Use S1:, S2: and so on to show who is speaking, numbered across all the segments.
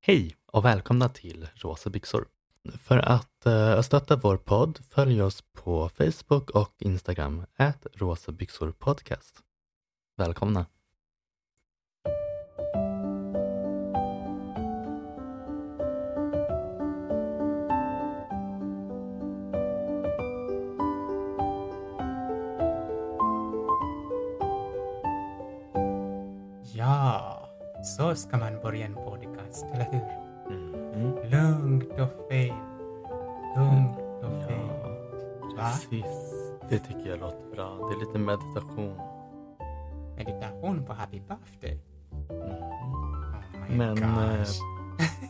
S1: Hej och välkomna till Rosa byxor. För att eh, stötta vår podd följ oss på Facebook och Instagram, ät rosa byxor podcast. Välkomna!
S2: Ja, så ska man börja en podcast, eller hur? Mm-hmm. Lugnt och fint. Lugnt och fint.
S1: Ja,
S2: Va?
S1: precis. Det tycker jag låter bra. Det är lite meditation.
S2: Meditation på happy birthday.
S1: Mm.
S2: Oh my
S1: Men, eh,
S2: gosh.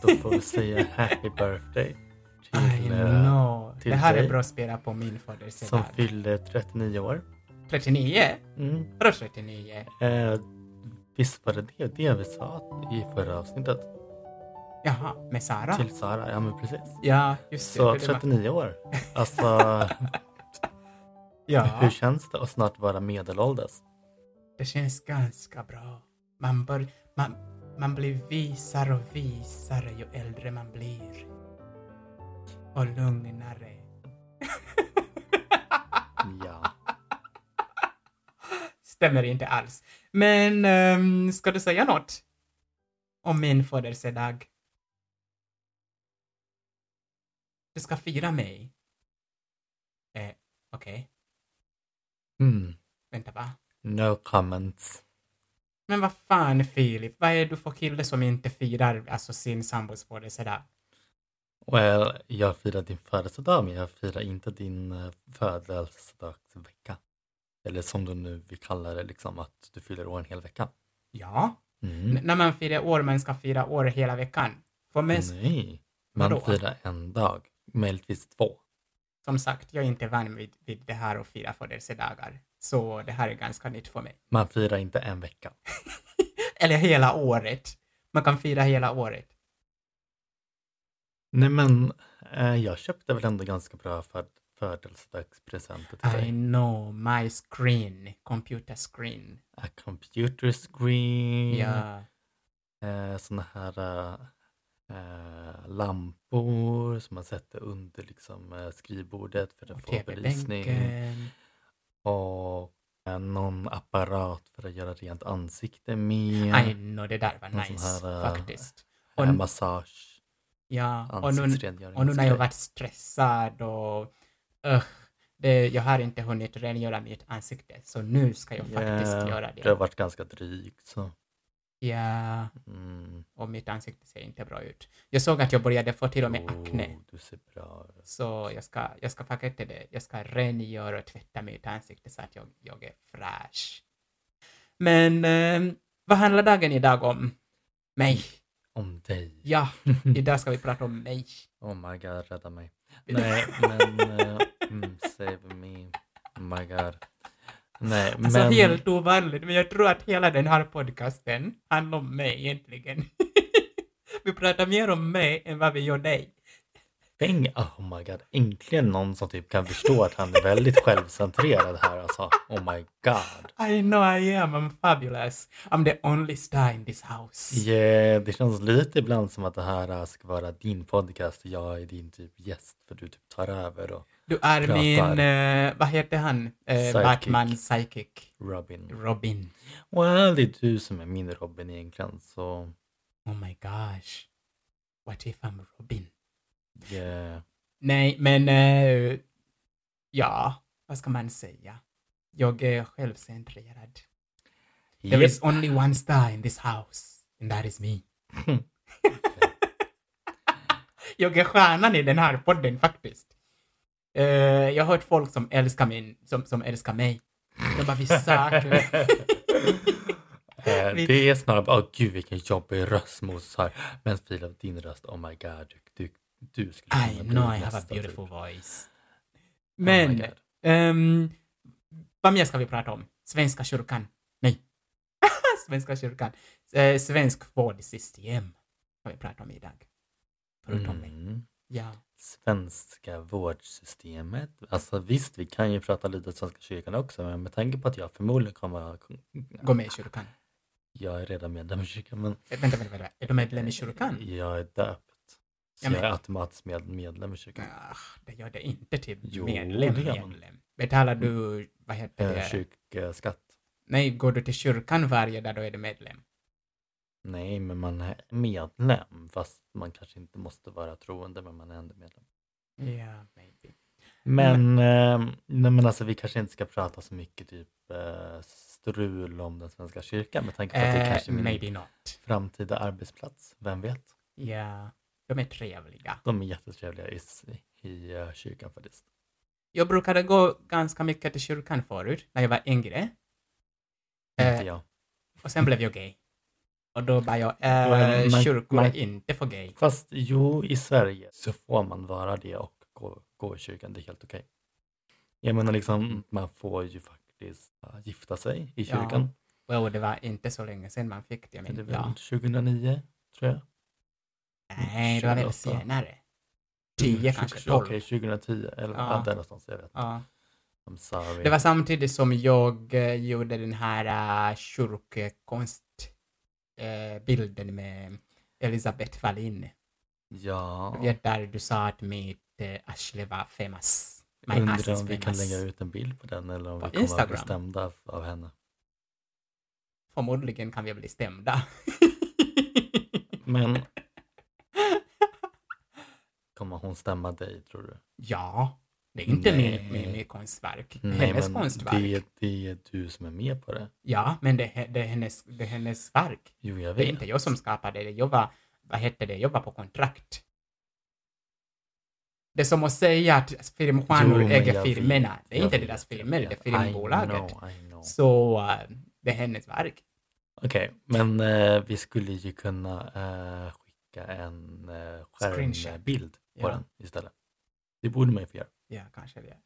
S1: Då får vi säga happy birthday
S2: I
S1: till, eh,
S2: know.
S1: till
S2: Det här
S1: dig.
S2: är bra att spela på min
S1: som
S2: födelsedag.
S1: fyllde 39 år.
S2: 39?
S1: Mm.
S2: Vadå 39?
S1: Eh, visst var det det, det vi sa i förra avsnittet?
S2: Jaha, med Sara?
S1: Till Sara, ja men precis.
S2: Ja, just det.
S1: Så
S2: för det var-
S1: 39 år. Alltså, hur
S2: Ja,
S1: känns det att snart vara medelålders?
S2: det känns ganska bra. Man, bör, man, man blir visare och visare ju äldre man blir. Och lugnare.
S1: Ja.
S2: Stämmer inte alls. Men ehm, ska du säga något? Om min födelsedag? Du ska fira mig? Eh, okej.
S1: Mm.
S2: Vänta va?
S1: No comments.
S2: Men vad fan Filip, vad är du för kille som inte firar alltså sin sambos födelsedag?
S1: Well, jag firar din födelsedag men jag firar inte din eh, födelsedagsvecka. Eller som du nu vill kalla det, liksom att du fyller år en hel vecka.
S2: Ja,
S1: Mm.
S2: N- när man firar år, man ska fira år hela veckan. För mig,
S1: Mm. Nej, man
S2: Vadå?
S1: firar en dag, möjligtvis två.
S2: som sagt, jag är inte van vid, vid det här att fira födelsedagar. Så det här är ganska nytt för mig.
S1: Man firar inte en vecka.
S2: Eller hela året. Man kan fira hela året.
S1: Nej men, eh, jag köpte väl ändå ganska bra för födelsedagspresenter till
S2: I
S1: dig.
S2: know my screen, computer screen.
S1: A eh, computer screen,
S2: Ja,
S1: eh, såna här eh, eh, lampor som man sätter under liksom, eh, skrivbordet för att
S2: och
S1: få belysning.
S2: tv-bänken.
S1: Och eh, någon apparat för att göra rent ansikte med.
S2: I know, det där var
S1: Någon sån
S2: nice
S1: här, eh,
S2: faktiskt. Och,
S1: Eh, massage,
S2: ja, och nu,
S1: ansiktsrengöring.
S2: och nu när jag
S1: sådär.
S2: varit stressad och öh, det, jag har inte hunnit rengöra mitt ansikte, så nu ska jag
S1: Ja,
S2: faktiskt göra
S1: Det har
S2: det.
S1: varit ganska drygt så.
S2: Ja,
S1: Mm.
S2: och mitt ansikte ser inte bra ut. Jag såg att jag började få till och med
S1: Jo,
S2: akne.
S1: Du ser bra ut.
S2: Så jag ska, jag ska faktiskt inte det. Jag ska rengöra och tvätta mitt ansikte så att jag, jag är fräsch. Men eh, vad handlar dagen idag om? Mig.
S1: Om dig.
S2: Ja, idag ska vi prata om mig.
S1: oh my god, rädda mig. Nej, men... eh, mm, save me. Oh my god. Nej,
S2: Alltså
S1: men...
S2: helt ovanligt, men jag tror att hela den här podcasten handlar om mig egentligen. vi pratar mer om mig än vad vi gör dig.
S1: Bäng, oh my god. Äntligen någon som typ kan förstå att han är väldigt självcentrerad här alltså. Oh my god.
S2: I know I am, I'm fabulous. I'm the only star in this house.
S1: Yeah, det känns lite ibland som att det här eh, ska vara din podcast och jag är din typ gäst för du typ tar över och
S2: Du är
S1: Pratar.
S2: min, eh, vad heter han, eh,
S1: Sidekick.
S2: Batman psychic,
S1: Robin.
S2: Robin.
S1: Well, det är du som är min Robin egentligen så
S2: Oh my gosh. What if I'm Robin?
S1: yeah.
S2: Nej, men eh, ja, vad ska man säga? Jag är självcentrerad. There
S1: Yep.
S2: is only one star in this house, and that is me. jag är stjärnan i den här podden faktiskt. Eh, jag har hört folk som älskar, min, som, som älskar mig. De bara, vi söker.
S1: Eh,
S2: Vi-
S1: Det är snarare bara, åh gud vilken jobbig röstmos här. Men Filip, din röst, oh my god. Du, du, du skulle
S2: I
S1: kunna bli
S2: know I have
S1: nästa
S2: a beautiful
S1: typ.
S2: voice.
S1: Oh my
S2: Men,
S1: god.
S2: ehm, vad mer ska vi prata om? Svenska kyrkan? Nej. Svenska kyrkan. Eh, svensk vårdsystem har vi pratat om idag. Förutom mig.
S1: Mm.
S2: Ja.
S1: Svenska vårdsystemet. Alltså visst, vi kan ju prata lite Svenska kyrkan också, men med tanke på att jag förmodligen kommer att
S2: Gå med i kyrkan.
S1: Jag är redan medlem i kyrkan, men
S2: Eh, Vänta, vänta, vänta. Är du medlem i kyrkan?
S1: jag är döpt. Så
S2: Mm. Ja, men-
S1: jag är automatiskt med, medlem i kyrkan.
S2: Ah, det gör det inte till
S1: Jo,
S2: medlem.
S1: det gör man.
S2: medlem. Betalar du, vad heter
S1: Eh,
S2: det?
S1: kyrkskatt.
S2: Nej, går du till kyrkan varje dag, då är du medlem.
S1: Nej, men man är medlem. Fast man kanske inte måste vara troende, men man är ändå medlem.
S2: Ja, maybe.
S1: Men, eh, nej, men alltså, vi kanske inte ska prata så mycket typ eh, strul om den svenska kyrkan med tanke på att det
S2: Eh,
S1: kanske är min
S2: maybe not.
S1: framtida arbetsplats. Vem vet?
S2: Ja, de är trevliga.
S1: De är jättetrevliga i, i eh, kyrkan faktiskt.
S2: Jag brukade gå ganska mycket till kyrkan förut, när jag var yngre.
S1: Inte
S2: Eh,
S1: jag.
S2: och sen blev jag gay. Och då var jag,
S1: Men
S2: eh,
S1: man-
S2: kyrkor
S1: man-
S2: är inte för gay.
S1: Fast jo, i Sverige så får man vara det och gå, gå i kyrkan. Det är helt okej. Jag menar liksom, man får ju faktiskt eh, gifta sig i
S2: Ja,
S1: kyrkan.
S2: Wow, det var inte så länge sedan man fick det,
S1: Men det är
S2: men
S1: väl
S2: ja.
S1: 2009, tror jag.
S2: Nej, det var väl
S1: 28.
S2: senare. 10 kanske, 12.
S1: Mm, Okej, 2010, eller
S2: Ja.
S1: ja. där någonstans. Jag vet.
S2: Ja.
S1: I'm sorry.
S2: Det var samtidigt som jag eh, gjorde den här uh, kyrkkonstbilden uh, bilden med Elisabeth Wallin.
S1: Ja,
S2: Du vet där du sa att mitt uh, arsle var famous. My ass
S1: undrar
S2: is
S1: om vi kan
S2: famous.
S1: lägga ut en bild på den eller om
S2: På
S1: vi kommer att bli
S2: Instagram.
S1: stämda av- av henne.
S2: Förmodligen kan vi bli stämda.
S1: Men kommer hon stämma dig, tror du?
S2: ja, det är inte min,
S1: Nej.
S2: min, min konstverk.
S1: Nej,
S2: hennes
S1: men
S2: konstverk.
S1: Det, det är du som är med på det.
S2: Ja, men det, he- det, är hennes, det är hennes verk.
S1: Jo, jag
S2: Det är
S1: vet.
S2: inte jag som skapade det. Jag var, vad hette det, jag var på kontrakt. Det är som att säga att filmstjärnor
S1: Jo, men
S2: äger
S1: jag
S2: filmerna.
S1: vet,
S2: Det är
S1: jag
S2: inte
S1: vet,
S2: deras
S1: jag
S2: filmer, det är
S1: vet. I
S2: filmbolaget.
S1: know, I know.
S2: Så äh, det är hennes verk.
S1: Okej, men eh, vi skulle ju kunna eh, skicka en eh, skärmbild på
S2: Ja.
S1: den istället. Det borde man ju få göra.
S2: Ja, kanske det.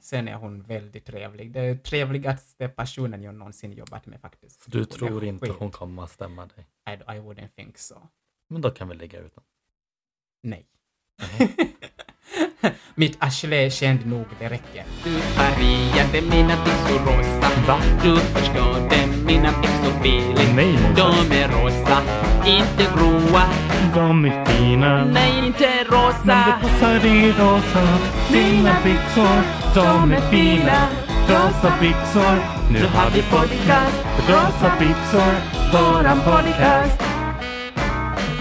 S2: Sen är hon väldigt trevlig. Det är trevligaste personen jag någonsin jobbat med faktiskt.
S1: Så du
S2: Hon är
S1: tror inte
S2: skit.
S1: hon kommer att stämma dig?
S2: I, I wouldn't think so.
S1: Men då kan vi lägga ut den.
S2: Nej. Mitt arsle är känd nog, det räcker.
S3: Du färgade mina byxor rosa. Va? Du förstörde mina byxor fel.
S4: Nej, Moses.
S3: De är rosa, inte gråa.
S4: De är fina.
S3: Nej, inte rosa.
S4: Men det passar i rosa. Dina byxor, de är fina. Rosa byxor, nu har vi podcast. Rosa byxor, våran podcast.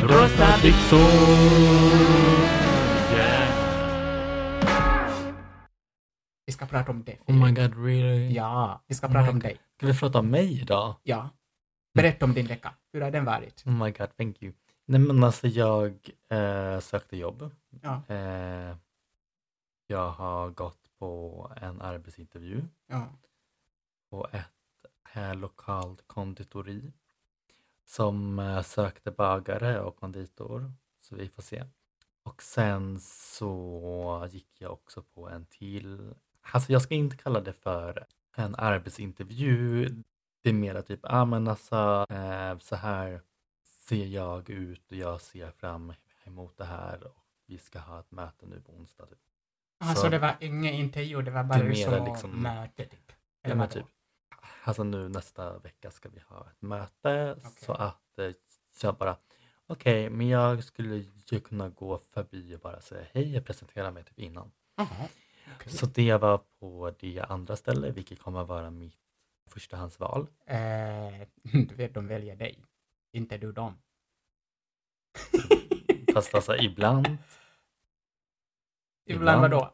S4: Rosa byxor. Yeah.
S2: Vi ska prata om det.
S1: Oh my god, really?
S2: Ja, vi ska
S1: Oh
S2: prata
S1: my
S2: om
S1: God.
S2: dig.
S1: Ska vi prata om mig idag?
S2: Ja. Berätta om din vecka. Hur har den varit?
S1: Oh my god, thank you. Nej men alltså jag eh, sökte jobb.
S2: Ja.
S1: Eh, jag har gått på en arbetsintervju
S2: Ja.
S1: på ett eh, lokalt konditori som eh, sökte bagare och konditor. Så vi får se. Och sen så gick jag också på en till. Alltså jag ska inte kalla det för en arbetsintervju. Det är mera typ, ja ah, men alltså eh, så här ser jag ut och jag ser fram emot det här och vi ska ha ett möte nu på onsdag. Typ.
S2: Ah, så,
S1: Så-
S2: det var ingen intervju, det var bara
S1: Det är
S2: liksom,
S1: mera
S2: liksom
S1: liksom-
S2: möte typ?
S1: Ja,
S2: Eller
S1: men
S2: vadå?
S1: typ. Alltså nu nästa vecka ska vi ha ett möte så att eh, jag bara okej, men jag skulle ju kunna gå förbi och bara säga hej och presentera mig typ innan.
S2: Jaha, okej.
S1: Så det var på det andra stället, vilket kommer att vara mitt förstahandsval.
S2: Eh, du vet, de väljer dig. Inte du dem.
S1: Fast alltså ibland,
S2: Ibland
S1: Ibland.
S2: vadå?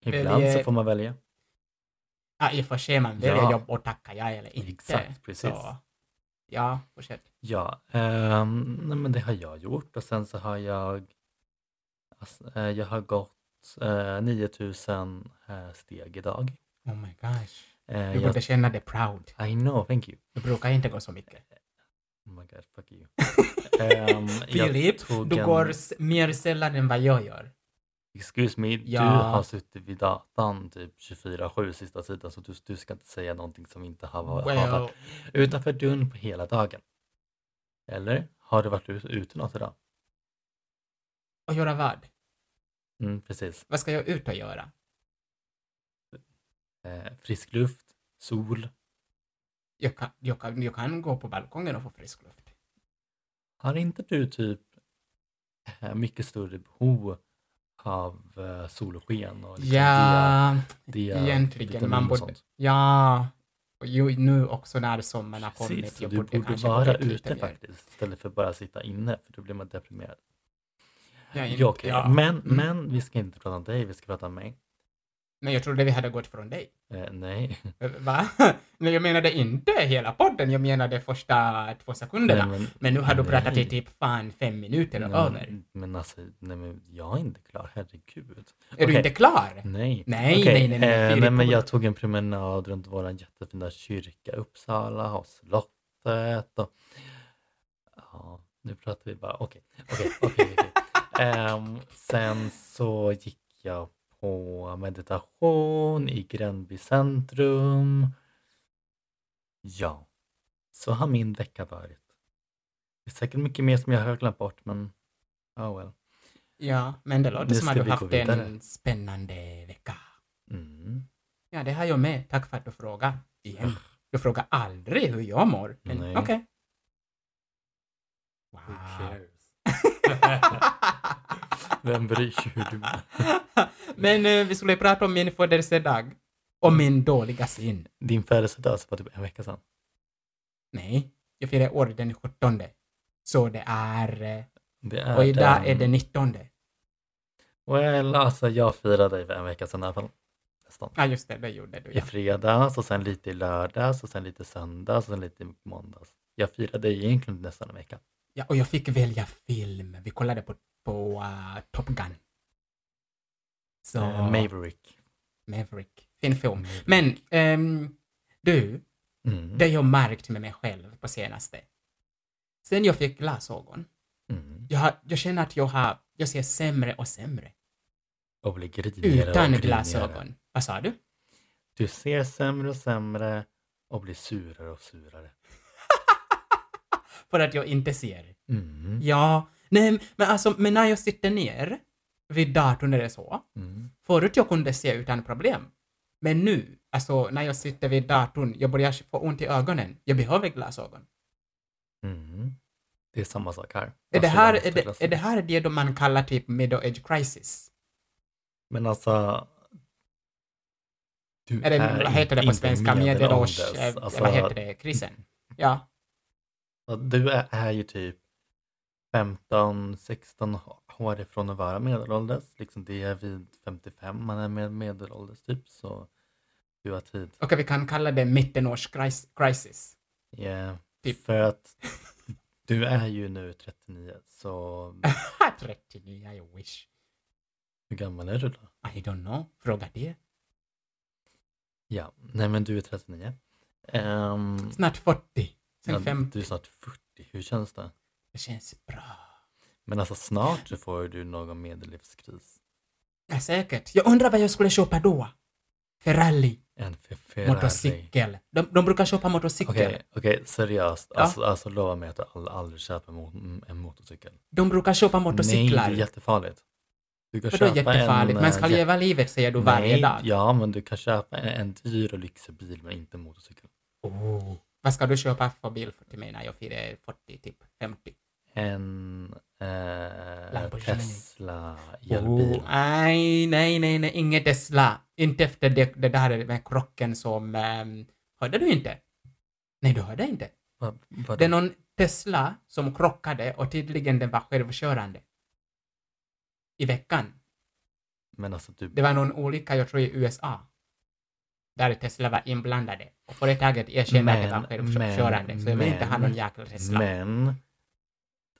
S1: ibland så
S2: Väljer-
S1: får man välja.
S2: Ja, i och för sig, man väljer
S1: Ja.
S2: jobb och tackar jag eller inte.
S1: Exakt, precis.
S2: Så, ja, fortsätt.
S1: Ja, ehm, nej, men det har jag gjort och sen så har jag alltså, eh, jag har gått eh, 9000 eh, steg idag.
S2: Oh my gosh.
S1: Eh,
S2: Du
S1: jag,
S2: borde känna dig proud.
S1: I know, thank you.
S2: Du brukar inte gå så mycket.
S1: Oh my god, fuck you. Ehm, jag
S2: Filip,
S1: tog
S2: du
S1: en-
S2: går s- mer sällan än vad jag gör.
S1: Excuse me,
S2: Ja.
S1: du har suttit vid datan typ 24-7 sista tiden så du, du ska inte säga någonting som inte har, har
S2: Well,
S1: varit utanför dörren på hela dagen. Eller? Har du varit ute, ute något idag?
S2: och göra vad?
S1: Mm, precis.
S2: Vad ska jag ut och göra?
S1: Eh, frisk luft, sol,
S2: Jag kan, jag, kan, jag kan gå på balkongen och få frisk luft.
S1: Har inte du typ eh, mycket större behov av eh, solsken och liksom
S2: Ja,
S1: dia, dia,
S2: egentligen. Man
S1: vitamin och
S2: borde,
S1: sånt?
S2: ja, och ju, nu också när sommaren har kommit.
S1: Precis,
S2: jag
S1: du borde
S2: kanske
S1: vara
S2: gå ut lite
S1: ute
S2: mer.
S1: faktiskt istället för bara sitta inne för då blir man deprimerad.
S2: Jag, är-
S1: Ja, okej.
S2: ja. Mm. Men...
S1: Men, men vi ska inte prata om dig, vi ska prata om mig.
S2: jag trodde vi hade gått från dig.
S1: Eh, nej.
S2: Va? Nej, jag menade inte hela podden, jag menade första två sekunderna.
S1: Nej, men-
S2: Men nu har du pratat i
S1: Nej. Mm.
S2: typ fan fem minuter och
S1: Nej,
S2: över.
S1: men, men alltså, nej, men jag är inte klar, herregud.
S2: Är du
S1: Okej.
S2: inte klar?
S1: Nej.
S2: Nej,
S1: Okej,
S2: nej, nej, nej,
S1: eh,
S2: fyra
S1: nej men
S2: på-
S1: jag tog en promenad runt vår jättefina kyrka i Uppsala och slottet. Och... Ja, nu pratar vi bara. Okej, okej, okej. okej. Ehm, sen så gick jag på meditation i Gränby centrum. Ja, så har min vecka varit. Det är säkert mycket mer som jag har glömt bort, men oh well.
S2: Ja, men det låter
S1: Nu
S2: som att
S1: ska
S2: du
S1: vi
S2: haft
S1: gå vidare.
S2: en spännande vecka.
S1: Mm.
S2: Ja, det har jag med. Tack för att du frågar. Igen. Du frågar aldrig hur jag mår. Men
S1: Nej.
S2: okej.
S1: Who
S2: Wow.
S1: cares? Vem bryr sig hur du mår?
S2: men eh, vi skulle prata om min födelsedag. Och min dåliga syn.
S1: Din födelsedag så var typ en vecka sedan.
S2: Nej, jag firar år den 17. Så det är... eh,
S1: Det är
S2: Och idag är
S1: den-
S2: det 19.
S1: Well, alltså jag firade dig för en vecka sedan i alla fall. Nästan.
S2: Ja, just det, det gjorde du.
S1: I
S2: Ja.
S1: fredags och sen lite i lördags och sen lite i söndags och sen lite i måndags. Jag firade dig egentligen nästan en vecka.
S2: Ja, och jag fick välja film. Vi kollade på, på uh, Top Gun. Så,
S1: Eh, Maverick.
S2: Maverick. Fin film. Men, ehm, du,
S1: Mm.
S2: det jag märkt med mig själv på senaste. Sen jag fick glasögon,
S1: Mm.
S2: jag, har, jag känner att jag, har, jag ser sämre och sämre.
S1: Och blir grinigare och
S2: Utan
S1: grinigare.
S2: glasögon. Vad sa du?
S1: Du ser sämre och sämre och blir surare och surare.
S2: För att jag inte ser.
S1: Mm.
S2: Ja, nej, men alltså, men när jag sitter ner vid datorn eller så,
S1: Mm.
S2: Förut jag kunde se utan problem. Men nu, alltså när jag sitter vid datorn, jag börjar få ont i ögonen. Jag behöver glasögon.
S1: Mm. Det är samma sak här.
S2: Är det,
S1: Alltså, jag
S2: här,
S1: måste
S2: är, det, är
S1: glasögon.
S2: det här det då man kallar typ middle age crisis?
S1: Men alltså... Du
S2: Är det, vad heter det på
S1: inte
S2: svenska? Medelålders... eh,
S1: Alltså,
S2: vad heter det? Krisen? Ja,
S1: Du är, är ju typ 15, 16 år ifrån att vara medelålders. Liksom det är vid 55 man är med medelålders typ. Så du har tid.
S2: okej vi kan kalla det mittenårs cris- crisis.
S1: Yeah.
S2: Typ.
S1: Eh, För att du är ju nu 39. Så
S2: Ha, 39, I wish.
S1: hur gammal är du då?
S2: I don't know. Fråga det.
S1: Ja, nej men du är 39. Ehm,
S2: Snart 40.
S1: ja,
S2: Sen 50.
S1: du är snart 40. Hur känns det?
S2: Det känns bra.
S1: Men alltså snart så får du någon medellivskris.
S2: Ja, säkert. Jag undrar vad jag skulle köpa då. Ferrari.
S1: En Ferrari.
S2: Motorcykel. De, de brukar köpa motorcykel.
S1: Okej, okej, seriöst.
S2: Ja.
S1: Alltså, alltså lova mig att du all- aldrig köper mo- mm, en motorcykel.
S2: De brukar köpa
S1: Nej, det
S2: motorcyklar.
S1: är jättefarligt. Du kan
S2: Vadå jättefarligt?
S1: en,
S2: Man ska
S1: eh,
S2: leva livet säger du
S1: jä-
S2: varje
S1: Nej,
S2: dag.
S1: Ja, men du kan köpa en, en dyr och lyxig bil men inte en motorcykel.
S2: Oh. Vad ska du köpa för bil för- till mig när jag firar 40, typ 50?
S1: En eh,
S2: Lamborghini. Oh.
S1: Tesla elbil.
S2: Nej, nej, nej, nej, ingen Tesla. Inte efter det, det där med krocken som... ehm, hörde du inte? Nej, du hörde inte.
S1: Va, vadå?
S2: Det är någon Tesla som krockade och tydligen den var självkörande. I veckan.
S1: men alltså du,
S2: Det var någon olycka, jag tror i USA, där Tesla var inblandade. Och företaget erkände att det var
S1: Men,
S2: självkörande,
S1: men,
S2: så jag vill inte ha någon
S1: men,
S2: jäkla Tesla.
S1: men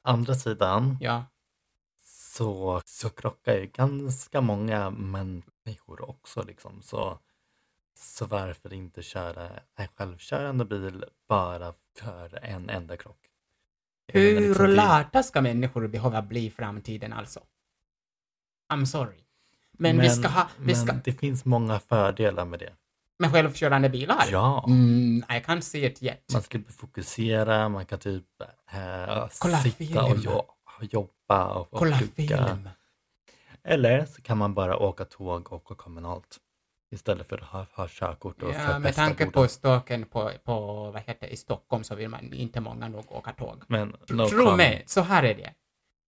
S1: andra sidan
S2: Ja,
S1: så, så krockar ju ganska många människor också liksom. Så, så varför inte köra en självkörande bil bara för en enda krock? Jag menar, liksom,
S2: hur
S1: det-
S2: lata ska människor behöva bli i framtiden alltså? I'm sorry. Men, vi ska ha, vi
S1: men
S2: ska,
S1: det finns många fördelar med det.
S2: med självkörande bilar?
S1: Ja,
S2: Mm, I can't see it yet.
S1: man slipper fokusera, man kan typ eh,
S2: Kolla
S1: sitta och
S2: film.
S1: jo- jobba och, och
S2: Kolla
S1: plugga.
S2: film.
S1: Eller så kan man bara åka tåg och åka kommunalt. Istället för att ha, ha körkort och
S2: Ja,
S1: förpesta
S2: med tanke
S1: goda-
S2: på ståken på, på, vad heter det, i Stockholm så vill man inte många nog åka tåg.
S1: Men no
S2: Tro mig,
S1: comment.
S2: så här är det.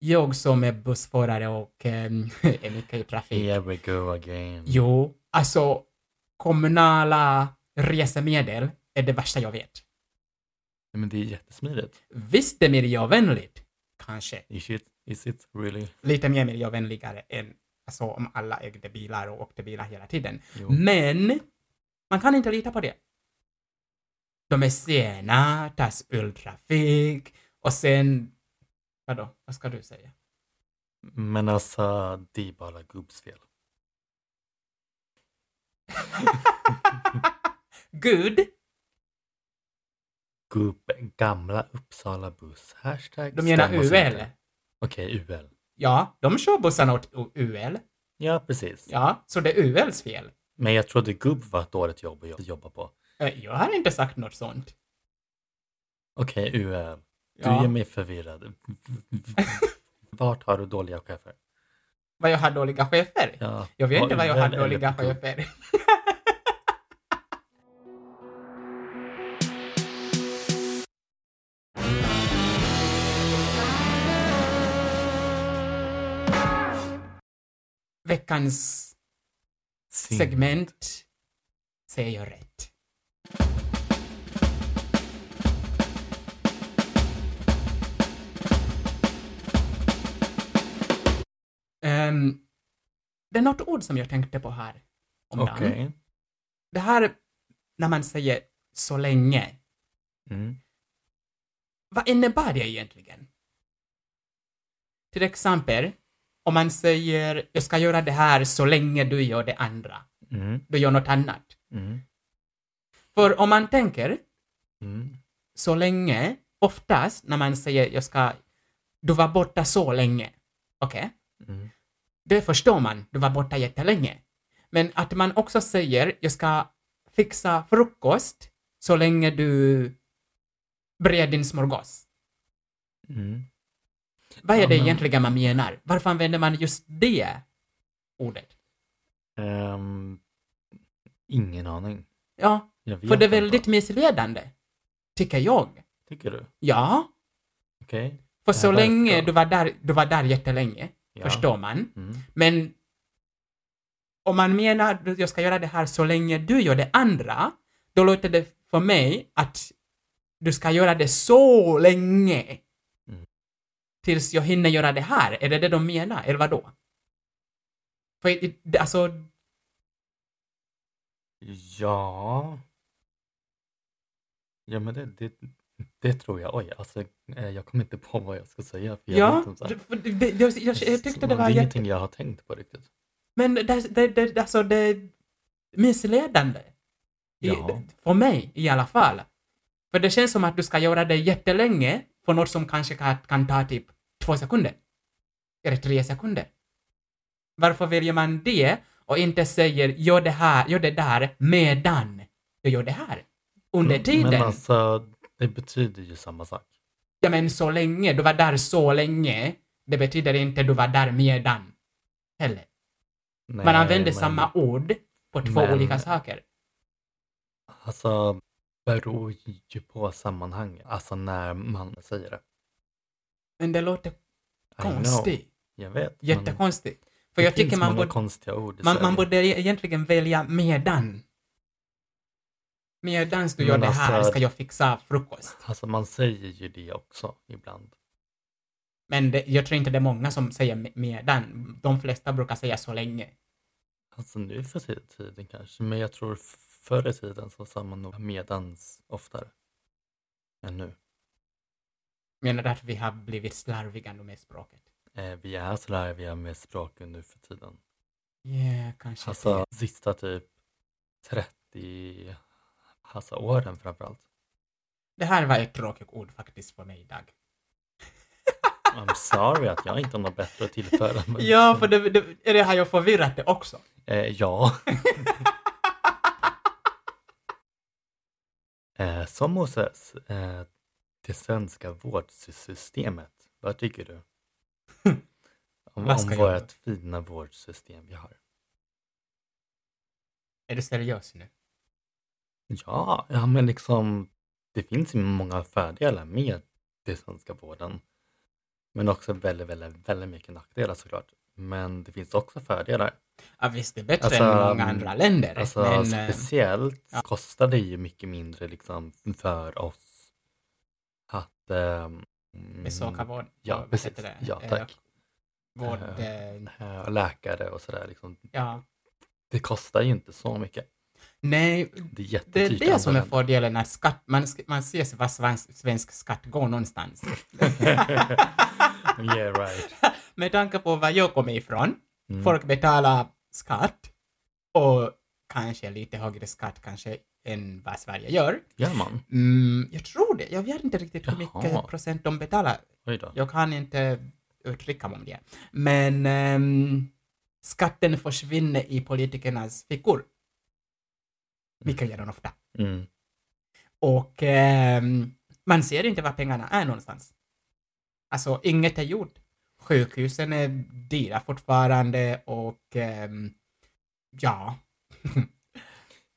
S2: Jag som är bussförare och ehm, är mycket i trafik.
S1: Here we go again.
S2: Jo, alltså kommunala resemedel är det värsta jag vet.
S1: Men det är jättesmidigt.
S2: Visst det är miljövänligt, kanske.
S1: Is it, is it really?
S2: Lite mer miljövänligare än alltså, om alla ägde bilar och åkte bilar hela tiden.
S1: Jo.
S2: Men man kan inte lita på det. De är sena, tas ur trafik och sen... Vadå? Vad ska du säga?
S1: Men alltså, det är bara gubbs fel.
S2: Gud,
S1: Gubb, gamla Uppsala buss. Hashtag
S2: de menar
S1: stäm oss
S2: UL.
S1: inte. Okej, UL.
S2: Ja, de kör bussarna åt U- UL.
S1: Ja, precis.
S2: Ja, så det är ULs fel.
S1: Men jag trodde gubb var ett dåligt jobb att jobba på.
S2: Eh, Jag har inte sagt något sånt.
S1: Okej, UL. Du
S2: Ja.
S1: gör mig förvirrad. Vart har du dåliga chefer?
S2: Vad jag har dåliga chefer?
S1: Ja,
S2: Jag vet
S1: på
S2: inte vad jag
S1: UL
S2: har
S1: eller
S2: dåliga
S1: på gubb?
S2: chefer. Veckans
S1: Synd.
S2: segment säger jag rätt. Ehm, det är något ord som jag tänkte på här. Om dagen.
S1: Okej.
S2: Det här när man säger så länge,
S1: Mm.
S2: vad innebär det egentligen? Till exempel, om man säger jag ska göra det här så länge du gör det andra,
S1: Mm.
S2: du gör något annat.
S1: Mm.
S2: För om man tänker,
S1: Mm.
S2: så länge, oftast när man säger jag ska, du var borta så länge, okej?
S1: Mm.
S2: Det förstår man, du var borta jättelänge. Men att man också säger jag ska fixa frukost så länge du brer din smörgås.
S1: Mm.
S2: Vad är
S1: Ja,
S2: det
S1: men-
S2: egentligen man menar? Varför använder man just det ordet?
S1: Ehm, ingen aning.
S2: Ja,
S1: Jag vet
S2: för det är
S1: inte.
S2: väldigt missledande, tycker jag.
S1: Tycker du?
S2: Ja,
S1: Okej. Ja,
S2: för så
S1: varför?
S2: länge du var där, du var där jättelänge,
S1: Ja.
S2: förstår man.
S1: Mm.
S2: Men om man menar att jag ska göra det här så länge du gör det andra, då låter det för mig att du ska göra det så länge
S1: Mm.
S2: tills jag hinner göra det här. Är det det de menar, eller vadå? För i- det- alltså,
S1: Ja. Ja men det, det, det tror jag. Oj, alltså eh, jag kom inte på vad jag ska säga. För jag
S2: ja,
S1: vet inte, så här.
S2: det- för det, det, jag, jag, jag tyckte det var
S1: är
S2: jätte...
S1: ingenting jag har tänkt på riktigt.
S2: Men det, det, det, alltså, det är missledande. I,
S1: Ja.
S2: För mig i alla fall. För det känns som att du ska göra det jättelänge för något som kanske kan, kan ta typ två sekunder. Eller tre sekunder. Varför väljer man det och inte säger gör det här, gör det där medan jag gör det här?
S1: Mm,
S2: Under tiden.
S1: Men alltså, det betyder ju samma sak.
S2: Ja men så länge, du var där så länge, det betyder inte du var där medan. Heller.
S1: Nej,
S2: Man använder
S1: men
S2: samma ord på två
S1: men-
S2: olika saker.
S1: Alltså, beror ju på sammanhang. Alltså när man säger det.
S2: Men det låter
S1: I know,
S2: konstigt.
S1: Jag vet. men
S2: Jättekonstigt. För jag
S1: det finns
S2: tycker man
S1: många
S2: borde,
S1: konstiga ord i
S2: man, man
S1: Sverige.
S2: borde e- egentligen välja medan. Medan du gör
S1: Men
S2: det här
S1: alltså-
S2: ska jag fixa frukost.
S1: Alltså man säger ju det också ibland.
S2: Men det, jag tror inte det är många som säger me- medan. De flesta brukar säga så länge.
S1: Alltså nu för ti- tiden kanske, men jag tror f- förr i tiden så sa man nog medans oftare. Än nu.
S2: Menar du att vi har blivit slarviga nu med språket?
S1: Eh, vi är slarviga med språket nu för tiden.
S2: Ja, yeah, kanske
S1: Alltså
S2: det.
S1: sista typ 30 alltså, åren framförallt.
S2: Det här var ett tråkigt ord faktiskt för mig idag.
S1: I'm sorry att jag inte har något bättre att tillföra. men-
S2: Ja, för det, det, är det har jag förvirrat det också.
S1: Eh, ja. eh, som Moses, eh, det svenska vårdsystemet. Vad tycker du? Om,
S2: Vad
S1: om
S2: ska jag-
S1: vårt fina vårdsystem vi har.
S2: Är du seriös nu?
S1: Ja, ja men liksom det finns ju många fördelar med den svenska vården. Men också väldigt, väldigt, väldigt mycket nackdelar såklart. Men det finns också fördelar.
S2: Ja, visst, det är bättre
S1: Alltså,
S2: än många andra länder.
S1: Alltså
S2: men, eh,
S1: speciellt kostar det ju mycket mindre liksom för oss att ehm,
S2: besöka vård.
S1: Ja,
S2: vad
S1: precis.
S2: heter det?
S1: Ja,
S2: Eh,
S1: tack.
S2: Vård,
S1: Eh.
S2: eh,
S1: Eh, läkare och sådär. Liksom.
S2: ja.
S1: Det kostar ju inte så mycket.
S2: Nej,
S1: Det är
S2: det är
S1: jättedyrt. i
S2: det
S1: andra
S2: som är
S1: länder.
S2: fördelen när skatt, man, sk- man ser sig vad svensk, svensk skatt går någonstans.
S1: Yeah right.
S2: Med tanke på var jag kommer ifrån,
S1: Mm.
S2: folk betalar skatt och kanske lite högre skatt kanske än vad Sverige gör.
S1: Gör man?
S2: Mm, jag tror det. Jag vet inte riktigt hur mycket
S1: Jaha.
S2: procent de betalar.
S1: Oj då.
S2: Jag kan inte uttrycka mig om det. Men ehm, skatten försvinner i politikernas fickor. Vilket gör den ofta.
S1: Mm.
S2: Och ehm, man ser inte var pengarna är någonstans. Alltså, inget är gjort. Sjukhusen är dyra fortfarande och ehm, ja,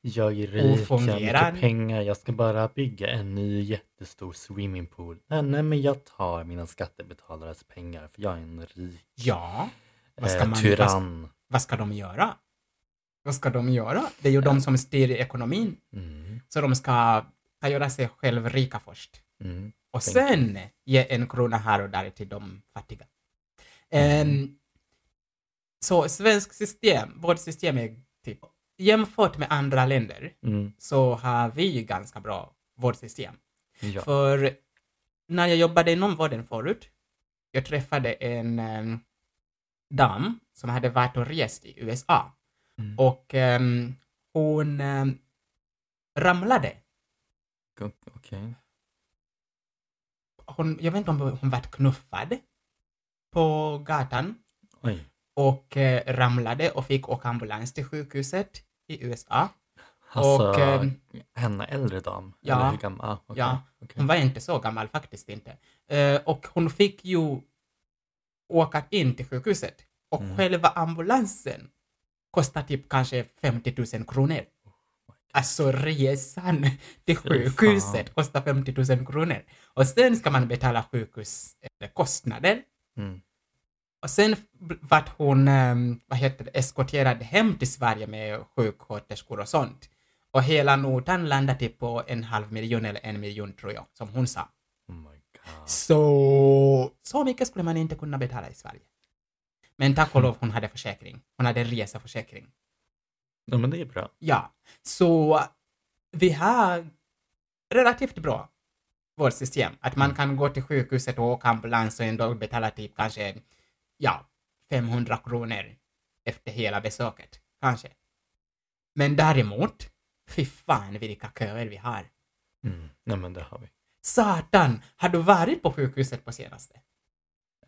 S1: Jag är rik, jag har
S2: Ofungerande.
S1: mycket pengar, jag ska bara bygga en ny jättestor swimmingpool. Nej, nej men jag tar mina skattebetalares pengar för jag är en rik
S2: ja, vad ska
S1: eh,
S2: man-
S1: tyrann.
S2: vad ska de göra? Vad ska de göra? Det är ju
S1: Eh.
S2: de som styr ekonomin,
S1: Mm,
S2: så de ska, ska göra sig själv rika först.
S1: mm.
S2: Och
S1: Tänker.
S2: sen ge en krona här och där till de fattiga. Ehm,
S1: Mm-hmm.
S2: så svensk system, vårt system är typ, jämfört med andra länder
S1: Mm,
S2: så har vi ju ganska bra vårdsystem.
S1: ja.
S2: För när jag jobbade inom vården förut, jag träffade en ehm, dam som hade varit och rest i USA
S1: Mm.
S2: och ehm, hon ehm, ramlade
S1: Okej. Okej.
S2: hon, jag vet inte om hon vart knuffad på gatan
S1: Oj.
S2: och eh, ramlade och fick åka ambulans till sjukhuset i USA.
S1: Alltså,
S2: Och, ehm,
S1: henne äldre dam?
S2: ja.
S1: Eller hur gammal? Ah, okej,
S2: Ja.
S1: okej.
S2: Hon var inte så gammal faktiskt inte. Eh, och hon fick ju åka in till sjukhuset och
S1: Mm.
S2: själva ambulansen kostar typ kanske 50 000 kronor. Alltså resan till
S1: Fy fan.
S2: sjukhuset kostar 50 000 kronor. Och sen ska man betala sjukhuskostnader
S1: Mm.
S2: Och sen b- vart hon, ehm, vad heter det, eskorterad hem till Sverige med sjuksköterskor och sånt. Och hela notan landade typ på en halv miljon eller en miljon tror jag, som hon sa.
S1: Oh my god.
S2: Så, så mycket skulle man inte kunna betala i Sverige. Men tack och lov hon hade försäkring. Hon hade reseförsäkring.
S1: Ja, men det är bra.
S2: Ja, så vi har relativt bra vårt system. Att man kan gå till sjukhuset och åka ambulans och ändå betala typ kanske ja, 500 kronor efter hela besöket. Kanske. Men däremot, fy fan vilka köer vi har.
S1: Mm. Nej, men det har vi.
S2: Satan, har du varit på sjukhuset på senaste?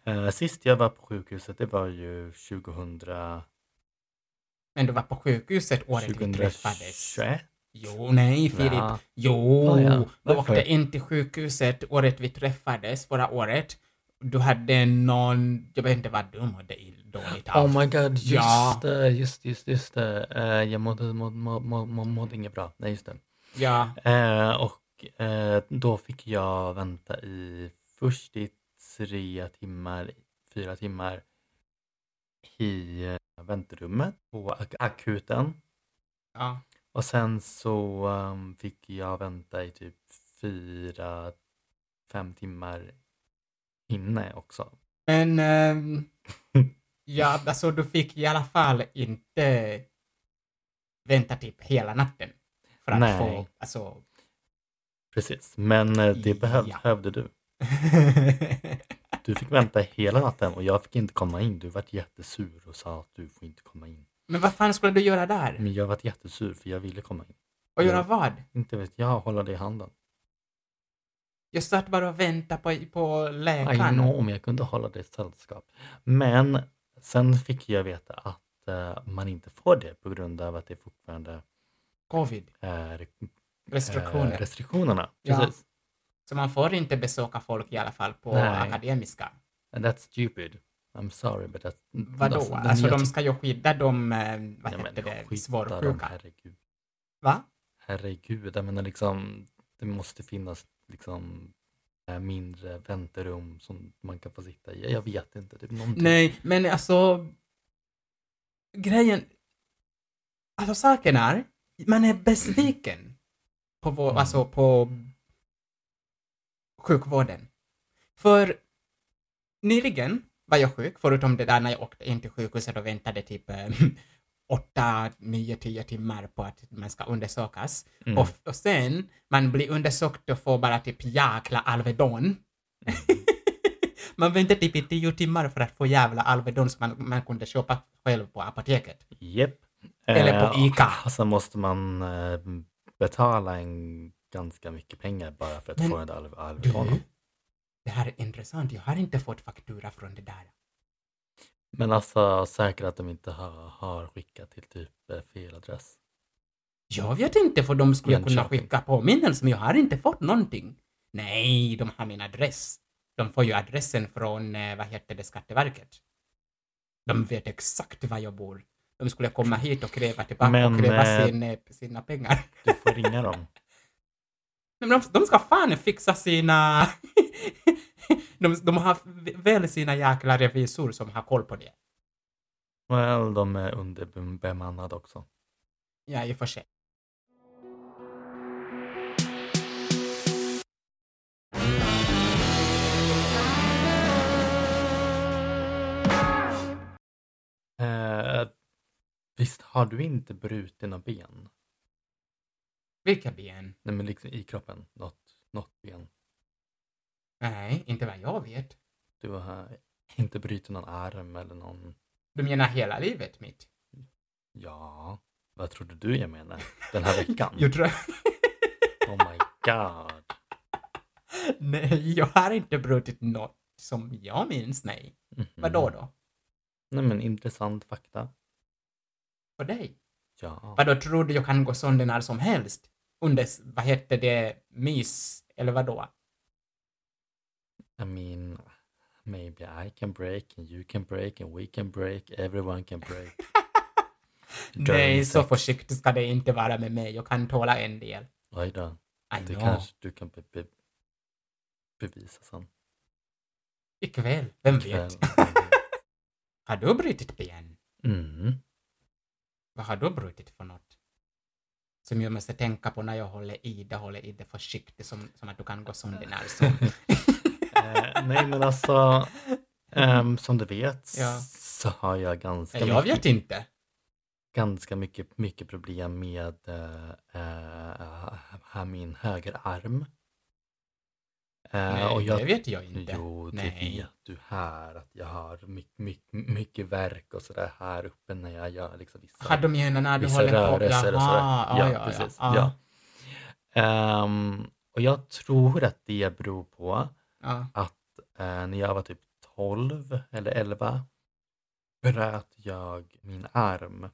S1: Eh, sist jag var på sjukhuset, det var ju 2000...
S2: Men du var på sjukhuset året vi träffades.
S1: 2021.
S2: Jo, nej Filip.
S1: Ja.
S2: Jo,
S1: Ah, ja.
S2: du
S1: Varför?
S2: åkte in till sjukhuset året vi träffades förra året. Du hade någon, jag vet inte vad du mådde i- dåligt av.
S1: Oh my god, just
S2: Ja.
S1: det, just, just, just det. Eh, jag mådde, mådde, mådde, mådde, mådde inget bra. Nej, just det.
S2: Ja,
S1: Eh, och eh, då fick jag vänta i först i tre timmar, fyra timmar i eh, väntrummet på ak- akuten.
S2: ja,
S1: Och sen så ehm, fick jag vänta i typ fyra, fem timmar inne också.
S2: men ehm, ja, alltså du fick i alla fall inte vänta typ hela natten för att
S1: Nej.
S2: få, alltså
S1: Precis, men eh, det behöv,
S2: Ja.
S1: behövde du. Du fick vänta hela natten och jag fick inte komma in. Du vart jättesur och sa att du får inte komma in.
S2: Men vad fan skulle du göra där?
S1: Men jag vart jättesur för jag ville komma in.
S2: Och göra
S1: Ja.
S2: vad?
S1: Inte vet jag, hålla dig i handen.
S2: Jag satt bara och väntade på, på
S1: I
S2: läkaren.
S1: know om jag kunde hålla dig i sällskap. Men sen fick jag veta att eh, man inte får det på grund av att det fortfarande
S2: Covid.
S1: är eh,
S2: Restriktioner.
S1: restriktionerna.
S2: Ja.
S1: Precis.
S2: Så man får inte besöka folk i alla fall på
S1: Nej.
S2: akademiska.
S1: And that's stupid. I'm sorry but that,
S2: Vadå?
S1: alltså,
S2: Alltså,
S1: den jag
S2: de
S1: tycker-
S2: ska ju skydda de, eh, vad
S1: Ja, men
S2: heter
S1: skydda
S2: det,
S1: dem,
S2: svårsjuka.
S1: Herregud.
S2: Va?
S1: herregud, jag menar liksom det måste finnas liksom eh, mindre väntrum som man kan få sitta i. Jag vet inte. Det är någonting.
S2: Nej, men alltså... Grejen... Alltså saken är, man är besviken på, vår,
S1: Mm.
S2: alltså, på sjukvården. För nyligen var jag sjuk, förutom det där när jag åkte in till sjukhuset och väntade typ 8, 9, 10 timmar på att man ska undersökas.
S1: Mm.
S2: Och, och sen, man blir undersökt och får bara typ jäkla Alvedon. man väntar typ i tio timmar för att få jävla Alvedon som man, man kunde köpa själv på apoteket.
S1: Japp.
S2: Eller på
S1: Eh,
S2: Ica.
S1: och Sen måste man eh, betala en ganska mycket pengar bara för att
S2: Men
S1: få en alv
S2: Du,
S1: alvedon.
S2: det här är intressant. Jag har inte fått faktura från det där.
S1: Men alltså säkert att de inte har, har skickat till typ eh, fel adress.
S2: Jag vet inte för de skulle kunna
S1: Jönköping.
S2: skicka påminnelse, men jag har inte fått någonting. Nej, de har min adress. De får ju adressen från, eh, vad heter det, Skatteverket. De vet exakt var jag bor. De skulle komma hit och kräva tillbaka
S1: Men,
S2: och kräva
S1: eh,
S2: sin, eh, sina pengar.
S1: Du får ringa dem.
S2: Nej, men de, de ska fan fixa sina... de, de har väl sina jäkla revisor som har koll på det.
S1: Well, de är underbemannade också.
S2: Ja, i och för sig.
S1: Eh, visst har du inte brutit några ben?
S2: Vilka ben?
S1: Nej men liksom i kroppen, något, något ben.
S2: Nej, inte vad jag vet.
S1: Du har inte brutit någon arm eller någon,
S2: Du menar hela livet mitt?
S1: ja, vad trodde du jag menar? Den här veckan?
S2: Jag tror...
S1: Oh my god.
S2: nej, jag har inte brutit något som jag minns, nej.
S1: Mhm.
S2: Vadå då?
S1: Nej men intressant fakta.
S2: För dig?
S1: Ja.
S2: Vadå, tror du jag kan gå sönder när som helst? Under, s- vad hette det, mys? Eller vadå?
S1: I mean, maybe I can break and you can break and we can break, everyone can break. During
S2: Nej, så
S1: sex.
S2: försiktig ska det inte vara med mig. Jag kan tåla en del.
S1: Oj då,
S2: I
S1: det
S2: know.
S1: kanske du kan be- be- bevisa sen.
S2: Ikväll, vem
S1: ikväll.
S2: vet? Har du brutit ben?
S1: Mm.
S2: Vad har du brutit för något? Som jag måste tänka på när jag håller i det, håller i det försiktigt som, som att du kan gå sönder när som.
S1: Eh, nej men alltså, ehm, som du vet
S2: Ja.
S1: så har jag ganska,
S2: Jag
S1: mycket,
S2: vet inte.
S1: ganska mycket, mycket problem med eh, eh, här min högerarm. Eh,
S2: Nej,
S1: och jag,
S2: det vet jag inte.
S1: Jo, det
S2: Nej.
S1: vet du här att jag har mycket, mycket, mycket verk och sådär här uppe när jag gör liksom vissa
S2: Har du menar när du
S1: vissa
S2: håller på?
S1: rörelser och sådär.
S2: Jaha,
S1: ja, precis. Ja. Ehm, och jag tror att det beror på
S2: ja.
S1: eh, när jag var typ 12 eller 11 bröt jag min arm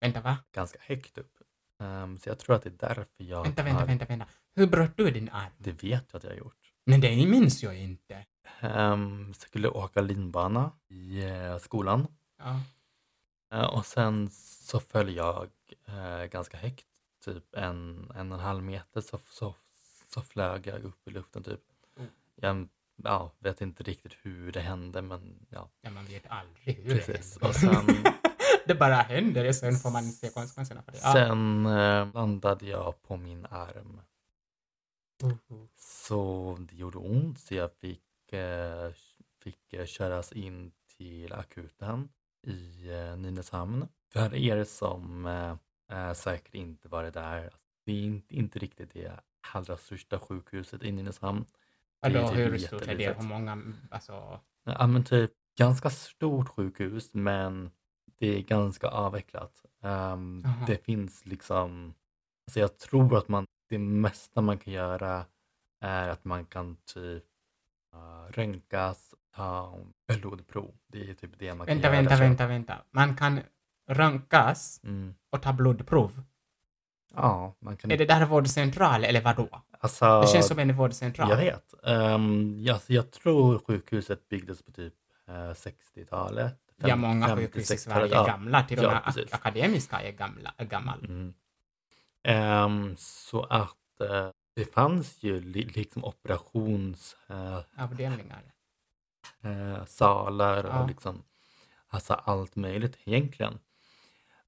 S2: Vänta, va?
S1: ganska högt upp. Ehm, så jag tror att det är därför jag
S2: Vänta,
S1: har-
S2: vänta, vänta, vänta. Hur bröt du din arm?
S1: Det vet jag att jag har gjort.
S2: Men det minns jag inte.
S1: Um, skulle åka linbana i eh, skolan
S2: Ja.
S1: Eh, och sen så föll jag eh, ganska högt, typ en, en och en halv meter så, så, så flög jag upp i luften typ.
S2: Mm.
S1: Jag ja, vet inte riktigt hur det hände men ja,
S2: ja, man vet aldrig hur
S1: precis.
S2: det
S1: Och
S2: händer.
S1: sen
S2: det bara händer och sen får man se konsekvenserna för det. Ja.
S1: Sen eh, landade jag på min arm. Så det gjorde ont så jag fick, eh, fick eh, köras in till akuten i eh, Nynäshamn. För er som eh, eh, säkert inte varit där, det är inte, inte riktigt det allra största sjukhuset i Nynäshamn.
S2: Vadå,
S1: det är typ
S2: hur stort är det?
S1: jättelitet.
S2: Hur många, alltså,
S1: Ja men typ ganska stort sjukhus men det är ganska avvecklat. Ehm,
S2: Jaha.
S1: det finns liksom, alltså jag tror att man, det mesta man kan göra är att man kan typ uh, röntgas, ta blodprov. Det är typ det man kan
S2: vänta,
S1: göra.
S2: vänta,
S1: tror jag.
S2: vänta, vänta. Man kan röntgas
S1: Mm.
S2: och ta blodprov.
S1: Ja, man kan
S2: Är det där vårdcentral eller vadå?
S1: alltså,
S2: Det känns som en vårdcentral.
S1: Jag vet. Ehm, ja, så jag tror sjukhuset byggdes på typ eh, 60-talet.
S2: Ja, många
S1: 50,
S2: sjukhus i
S1: 60-talet,
S2: Sverige är gamla, till och
S1: Ja,
S2: med ak-
S1: precis.
S2: akademiska är gamla, är gammal.
S1: Mm. Ehm, så att eh, det fanns ju li- liksom operationssalar
S2: avdelningar.
S1: eh, salar
S2: Ja.
S1: och liksom, alltså allt möjligt egentligen.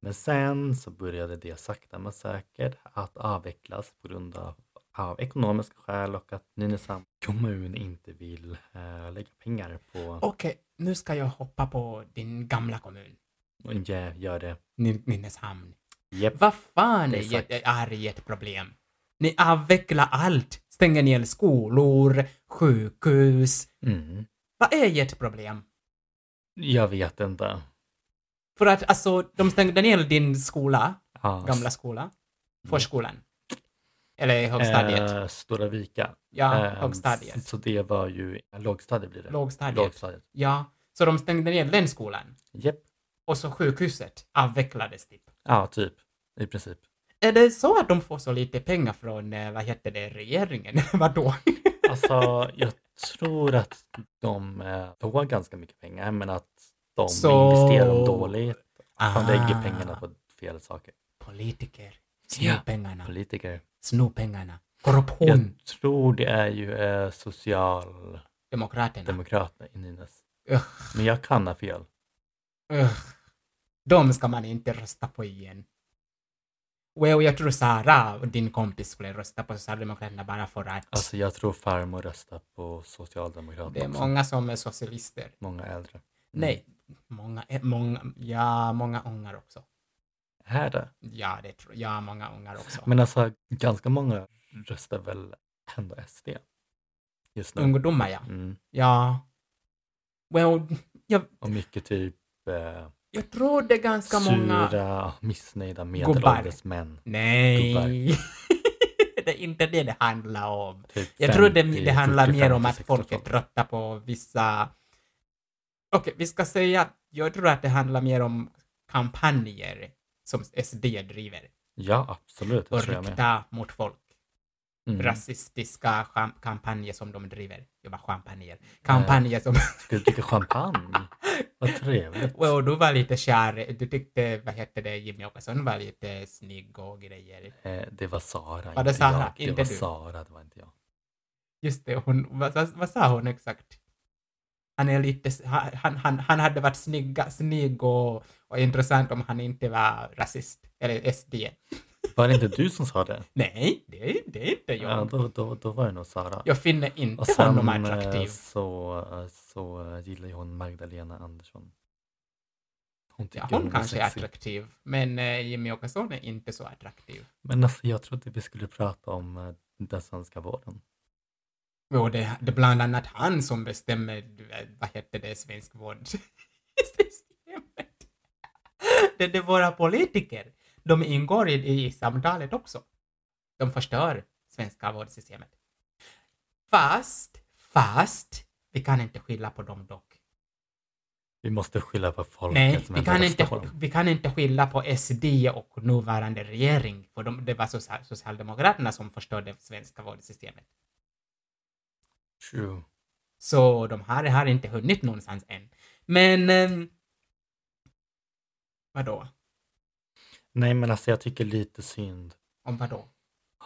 S1: Men sen så började det sakta men säkert att avvecklas på grund av, av ekonomiska skäl och att Nynäshamns kommun inte vill eh, lägga pengar på
S2: Okej, nu ska jag hoppa på din gamla kommun,
S1: och inte göra det.
S2: Nyn- Nynäshamn.
S1: Japp.
S2: Vad fan är,
S1: Exakt.
S2: är, är ett problem? Ni avvecklar allt, stänger ner skolor, sjukhus.
S1: Mm.
S2: Vad är ett problem?
S1: Jag vet inte.
S2: För att alltså, de stängde ner din skola,
S1: Ja,
S2: gamla skola, förskolan. Eller högstadiet.
S1: eh, Stora Vika.
S2: ja,
S1: Ehm,
S2: högstadiet.
S1: Så det var ju, lågstadiet blir det.
S2: Ah, Lågstadiet.
S1: Lågstadiet.
S2: Ja, så de stängde ner den skolan.
S1: Japp.
S2: Och så sjukhuset avvecklades typ.
S1: Ja, typ. I princip.
S2: Är det så att de får så lite pengar från, eh, vad heter det, regeringen? Vadå?
S1: Alltså, jag tror att de eh, får ganska mycket pengar men att de
S2: Så-
S1: investerar dem dåligt.
S2: Ah,
S1: De lägger pengarna på fel saker.
S2: Politiker. Sno
S1: Ja.
S2: pengarna.
S1: Politiker.
S2: Sno pengarna.
S1: Jag
S2: Korruption.
S1: tror det är ju eh, socialdemokraterna
S2: Demokraterna.
S1: i Nynäs.
S2: Ugh.
S1: Men jag kan ha fel.
S2: Ugh. De ska man inte rösta på igen. Well, jag tror Sara, din kompis, skulle rösta på Socialdemokraterna bara för att
S1: Alltså jag tror farmor röstar på socialdemokraterna
S2: det är
S1: också. Mm.
S2: många som är socialister.
S1: Många äldre. Mm.
S2: Nej, många, eh, många, ja, många ungar också.
S1: Här då.
S2: Ja, det tror jag. Ja, många ungar också.
S1: Men alltså ganska många röstar väl ändå SD. Just nu.
S2: Ungdomar, ja.
S1: Mm.
S2: Ja. Well, jag,
S1: Och mycket typ eh,
S2: jag tror det är ganska många...
S1: Sura, missnöjda medelålders män.
S2: Nej. det är inte det det handlar om.
S1: Typ
S2: Jag tror det,
S1: 50,
S2: det handlar
S1: 40,
S2: mer om
S1: 50,
S2: att folk är
S1: 60.
S2: trötta på vissa... Okej, vi ska säga att jag tror att det handlar mer om kampanjer som SD driver
S1: Ja, absolut. Det
S2: och
S1: tror jag med.
S2: rikta mot folk.
S1: Mm.
S2: rasistiska cham- kampanjer som de driver. Jag bara champagner. Kampanjer som...
S1: Ska du dricka champagne? Vad trevligt.
S2: Well, du var lite kär. Du tyckte, vad hette det, Jimmy Åkesson var lite snygg och grejer.
S1: Eh, det var Sara,
S2: Var det
S1: inte
S2: Sara?
S1: jag. Det
S2: Inte
S1: var
S2: du?
S1: Sara, det var inte jag.
S2: Just det, hon, vad, vad, vad sa hon exakt? Han är lite, han, han, han hade varit snygga, snygg och, och intressant om han inte var rasist. Eller SD.
S1: Var det inte du som sa det?
S2: Nej, det, det är inte jag.
S1: Ja, då, då, då var det nog Sara.
S2: Jag finner inte
S1: Och sen
S2: honom
S1: eh,
S2: attraktiv.
S1: så, eh, så eh, gillar ju hon Magdalena Andersson. Hon tycker
S2: Ja, hon kanske
S1: sexig.
S2: är attraktiv, men eh, Jimmy Åkesson är inte så attraktiv.
S1: Men alltså, jag trodde vi skulle prata om eh, den svenska vården.
S2: Jo, det, det är bland annat han som bestämmer, eh, vad heter det, svensk vård. systemet. det, det är våra politiker. De ingår i, i samtalet också. De förstör svenska vårdsystemet. Fast, fast, vi kan inte skylla på dem dock.
S1: Vi måste skylla på folket
S2: Nej,
S1: som
S2: vi
S1: ändå
S2: kan,
S1: röstar
S2: inte,
S1: på dem.
S2: vi kan inte skylla på SD och nuvarande regering, för de, det var social, Socialdemokraterna som förstörde svenska vårdsystemet.
S1: True.
S2: Så de här har inte hunnit någonstans än. Men... Eh, vadå?
S1: Nej, men alltså jag tycker lite synd
S2: Om vadå?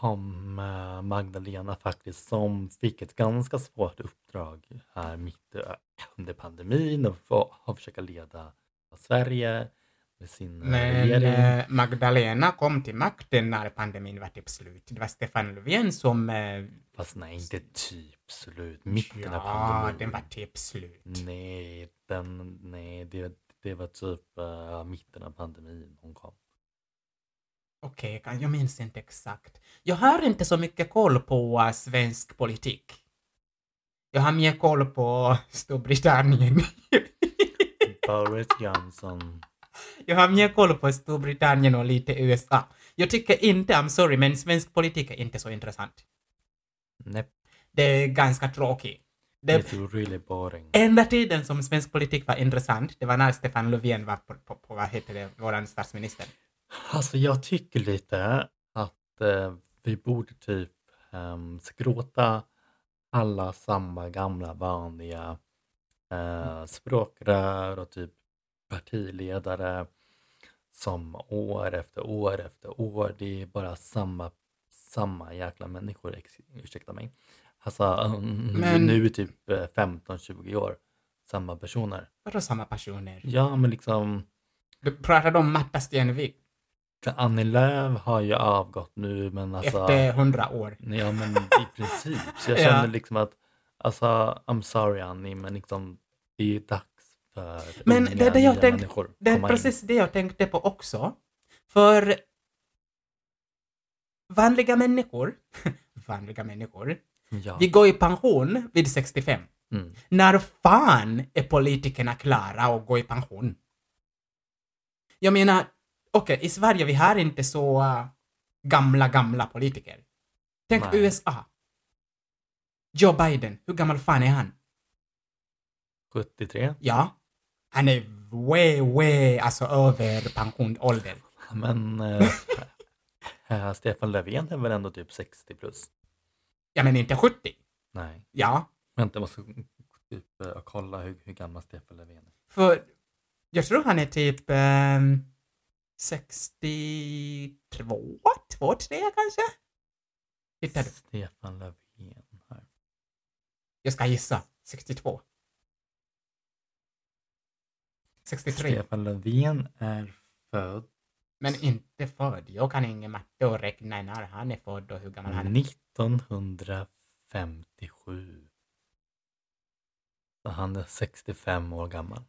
S1: om eh, Magdalena faktiskt som fick ett ganska svårt uppdrag här mitt ö- under pandemin och få- och försöka leda Sverige med sin eh,
S2: Men
S1: regering.
S2: eh, Magdalena kom till makten när pandemin var typ slut. Det var Stefan Löfven som... Eh,
S1: Fast nej, inte typ slut. Mitten av
S2: ja,
S1: pandemin. Mm.
S2: den var typ slut.
S1: Nej, den, nej det, det var typ eh, mitten av pandemin hon kom.
S2: Okej, kan- jag minns inte exakt. Jag har inte så mycket koll på eh, svensk politik. Jag har mer koll på Storbritannien.
S1: Boris Johnson.
S2: Jag har mer koll på Storbritannien och lite USA. Jag tycker inte, I'm sorry, men svensk politik är inte så intressant.
S1: Nej,
S2: Det är ganska tråkigt. Det,
S1: it's really boring.
S2: enda tiden som svensk politik var intressant, det var när Stefan Löfven var på, på, på vad heter det, våran statsminister.
S1: Alltså jag tycker lite att eh, vi borde typ um, skråta alla samma gamla vanliga eh, språkrör och typ partiledare som år efter år efter år, det är bara samma, samma jäkla människor, ex- ursäkta mig. Alltså mm,
S2: Men-
S1: nu typ eh, 15-20 år, samma personer.
S2: Vadå samma personer?
S1: Ja men liksom
S2: Du pratade om Märta Stenevi
S1: För Annie Lööf har ju avgått nu men alltså...
S2: efter hundra år.
S1: Nej, Ja men i princip. Så jag
S2: Ja.
S1: känner liksom att, alltså I'm sorry Annie men liksom det är ju dags för
S2: Men
S1: unga,
S2: det är det jag
S1: nya
S2: tänk-
S1: människor
S2: Det är
S1: komma
S2: precis det jag tänkte på också. För vanliga människor, vanliga människor,
S1: in. Ja.
S2: vi går i pension vid 65.
S1: Mm.
S2: När fan är politikerna klara och går i pension? Jag menar, okej, i Sverige vi har inte så äh, gamla, gamla politiker. Tänk
S1: Nej.
S2: USA. Joe Biden, hur gammal fan är han?
S1: 73.
S2: Ja, han är way, way, alltså över pensionsålder.
S1: Men eh, eh, Stefan Löfven är väl ändå typ 60 plus?
S2: Ja, men inte 70.
S1: Nej.
S2: Ja,
S1: Vänta jag måste typ eh, kolla hur, hur gammal Stefan Löfven är.
S2: för jag tror han är typ ehm, 62, 2, 3 kanske? Hittar du?
S1: Stefan Löfven. Här.
S2: Jag ska gissa. 62. 63.
S1: Stefan Löfven är född
S2: Men inte född. Jag kan ingen matte och räkna när han är född och hur gammal han är.
S1: Mm. 1957. Så han är 65 år gammal.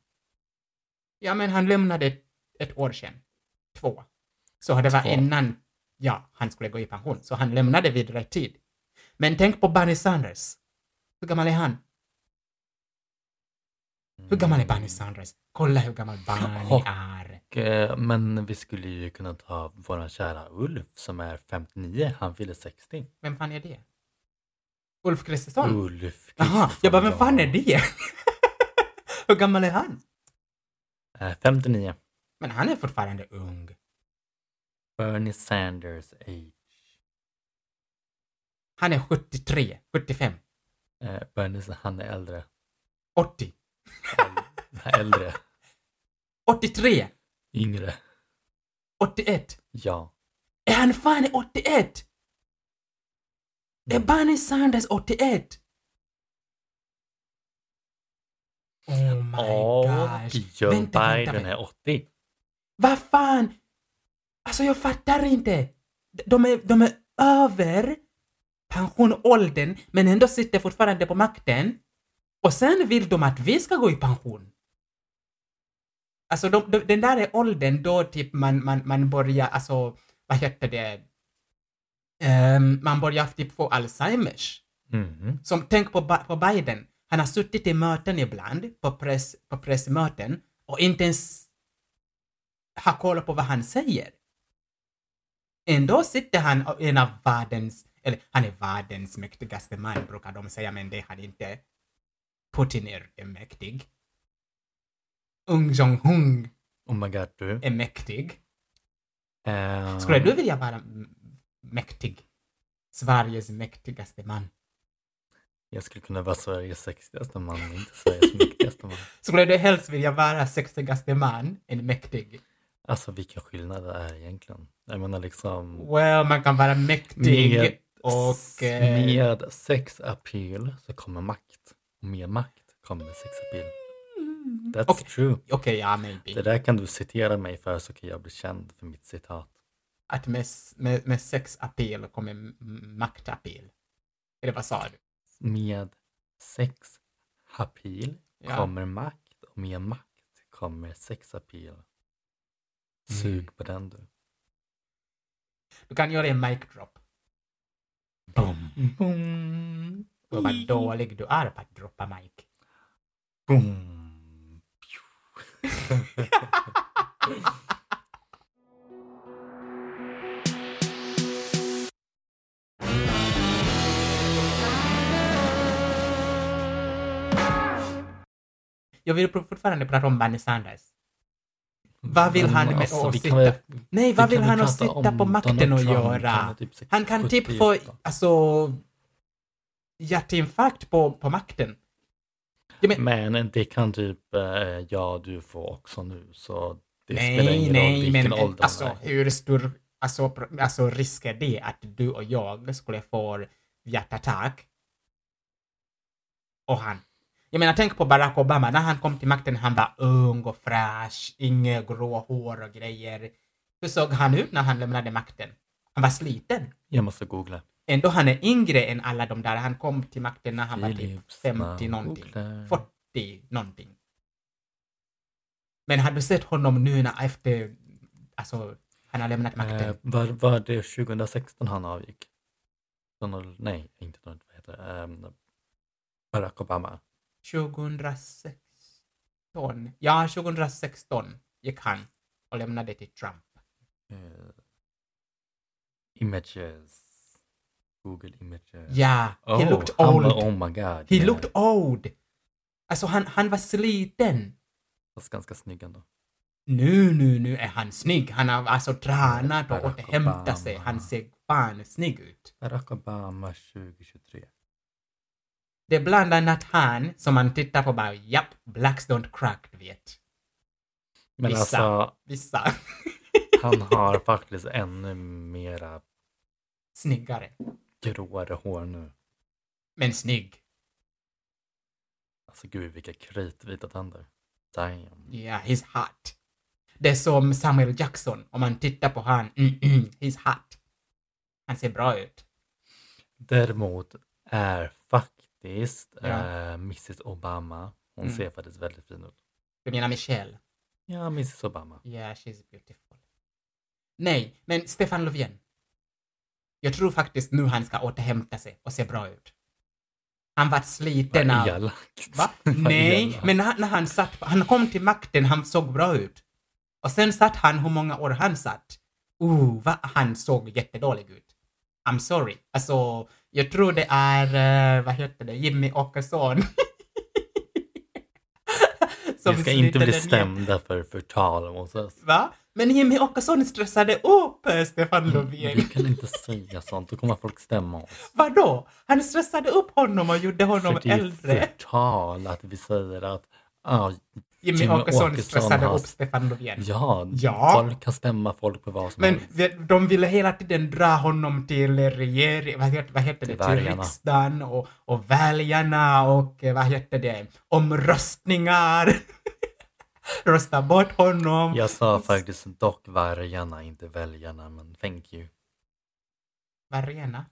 S2: Ja, men han lämnade ett, ett år sedan. Två. Så det var
S1: Två.
S2: innan ja, han skulle gå i pension. Så han lämnade vid rätt tid. Men tänk på Bernie Sanders. Hur gammal är han? Hur gammal
S1: Mm.
S2: är Bernie Sanders? Kolla hur gammal Bernie
S1: Och-
S2: är.
S1: Och, eh, Men vi skulle ju kunna ta vår kära Ulf som är 59. Han fyller 60.
S2: Vem fan är det? Ulf Kristersson?
S1: Ulf
S2: Jaha, jag bara, vem fan är
S1: Kristersson,
S2: det? Hur gammal är han?
S1: ja. Eh, 59.
S2: Men han är fortfarande ung.
S1: Bernie Sanders age.
S2: Han är 73, 75,
S1: Eh, Bernie, han är äldre.
S2: 80,
S1: Äl- äldre.
S2: 83,
S1: Yngre.
S2: 81.
S1: Ja.
S2: Är han fan 81? Är Bernie Sanders 81? Oh my
S1: och
S2: gosh.
S1: Joe
S2: Vänta, vänta,
S1: Biden
S2: vänta.
S1: är 80.
S2: Vad fan? Alltså jag fattar inte. D- De är, de är över pensionåldern men ändå sitter fortfarande på makten. Och sen vill de att vi ska gå i pension. Alltså de, de, den där är åldern då typ man, man, man börjar, alltså vad heter det? Ehm, man börjar typ få Alzheimers.
S1: Mhm.
S2: Som tänk på, Ba- på Biden. Han har suttit i möten ibland, på, press, på pressmöten, och inte ens har koll på vad han säger. Ändå sitter han och en av världens, eller han är världens mäktigaste man brukar de säga, men det är han inte. Putin är, är mäktig. Ung Jong-Hung
S1: Oh my god du.
S2: är mäktig.
S1: Eh,
S2: Skulle du vilja vara m- mäktig? Sveriges mäktigaste man.
S1: Jag skulle kunna vara Sveriges sexigaste man, men inte Sveriges mäktigaste man.
S2: Skulle du helst vilja vara sexigaste man än mäktig?
S1: Alltså vilken skillnad det är egentligen. Jag menar liksom
S2: Well, man kan vara mäktig
S1: Med-
S2: och...
S1: s-
S2: eh,
S1: med sex appeal så kommer makt. Och med makt kommer sex appeal. That's
S2: Okej.
S1: true.
S2: Okej, ja,
S1: Det
S2: maybe.
S1: där kan du citera mig för så kan jag bli känd för mitt citat.
S2: Att med, s- med, med sex appeal kommer m- makt appeal. Eller vad sa du?
S1: Med sex appeal
S2: Ja.
S1: kommer makt och med makt kommer sex appeal. Sug på den du.
S2: Du kan göra en mic drop.
S1: Boom.
S2: Och vad dålig du är på att droppa mic.
S1: Boom.
S2: Jag vill pr- fortfarande prata om Bernie Sanders. Vad vill han med
S1: alltså,
S2: att
S1: vi kan
S2: sitta...
S1: väl-
S2: Nej, vad vill han att
S1: prata
S2: sitta
S1: om
S2: på makten
S1: Donald
S2: och
S1: Trump?
S2: göra?
S1: Han är typ sex-
S2: Han kan typ
S1: 70
S2: få
S1: då.
S2: alltså, hjärtinfarkt på, på makten. Jag men,
S1: Men det kan typ, eh, ja du får också nu så det spelar
S2: nej,
S1: ingen roll
S2: nej,
S1: vilken
S2: men
S1: ålder
S2: alltså
S1: man är.
S2: hur stor alltså, pro- alltså, risk är det att du och jag skulle få hjärtattack? Och han. Jag menar, tänk på Barack Obama. När han kom till makten, han var ung och fräsch, inget grå hår och grejer. Hur såg han ut när han lämnade makten? Han var sliten.
S1: Jag måste googla.
S2: Ändå han är yngre än alla de där. Han kom till makten när han var typ
S1: Philips eh,
S2: 50 någonting.
S1: namngooglar.
S2: 40 någonting. Men har du sett honom nu när efter, alltså, han har lämnat makten?
S1: Eh, var, var det 2016 han avgick? Donald, nej, inte Donald, vad heter det? Ehm, Barack Obama.
S2: 2016. Ja, 2016 gick han och lämnade till Trump.
S1: Eh, images. Google images.
S2: Ja, he
S1: Oh,
S2: looked
S1: han var-
S2: old.
S1: oh my god.
S2: He
S1: yeah.
S2: looked old. Alltså han, han var sliten.
S1: Fast ganska snygg ändå.
S2: Nu, nu, nu är han snygg. Han har alltså tränat och
S1: Barack
S2: återhämtat sig. Han
S1: Obama.
S2: ser fan snygg ut.
S1: Barack Obama 2023.
S2: Det är bland annat han som man tittar på bara, japp, blacks don't crack, du vet.
S1: Men
S2: Vissa.
S1: alltså,
S2: Vissa
S1: han har faktiskt ännu mera
S2: snyggare,
S1: gråare hår nu.
S2: men snygg.
S1: Alltså gud vilka kritvita tänder. Damn.
S2: Yeah, he's hot. Det är som Samuel Jackson, om man tittar på han, mm, mm, he's hot. Han ser bra ut.
S1: Däremot är faktiskt
S2: Ja.
S1: eh, Mrs Obama, hon
S2: Mm.
S1: ser faktiskt väldigt fin ut.
S2: Du menar Michelle?
S1: Ja, Mrs Obama.
S2: Yeah, she's beautiful. Nej, men Stefan Löfven. Jag tror faktiskt nu han ska återhämta sig och se bra ut. Han var sliten
S1: Vad
S2: av...
S1: elakt.
S2: Va?
S1: Vad
S2: Nej,
S1: elakt.
S2: men när, när han satt, han kom till makten, han såg bra ut. Och sen satt han hur många år han satt. Uh, va? han såg jättedålig ut. I'm sorry. Alltså, jag tror det är, eh, vad heter det, Jimmy Åkesson. Som
S1: Vi ska inte bli
S2: slutade ner-
S1: stämda för förtal mot oss.
S2: Va? Men Jimmy Åkesson stressade upp eh, Stefan
S1: Vi
S2: Löfven.
S1: kan inte säga sånt, då kommer folk stämma oss.
S2: Vadå? Han stressade upp honom och gjorde honom
S1: För det är ju
S2: äldre.
S1: förtal att vi säger att ah,
S2: Jimmy,
S1: Jimmy
S2: Åkesson
S1: Åkesson
S2: stressade
S1: har-
S2: upp Stefan Löfven.
S1: ja,
S2: Ja.
S1: folk kan stämma folk på vad som
S2: Men
S1: helst.
S2: de- de ville hela tiden dra honom till regering, vad heter, vad heter det,
S1: Till
S2: till
S1: väljarna.
S2: riksdagen och, och väljarna och eh, vad heter det, omröstningar. Rösta bort honom.
S1: Jag sa faktiskt dock vargarna, inte väljarna, men thank you.
S2: Vargarna?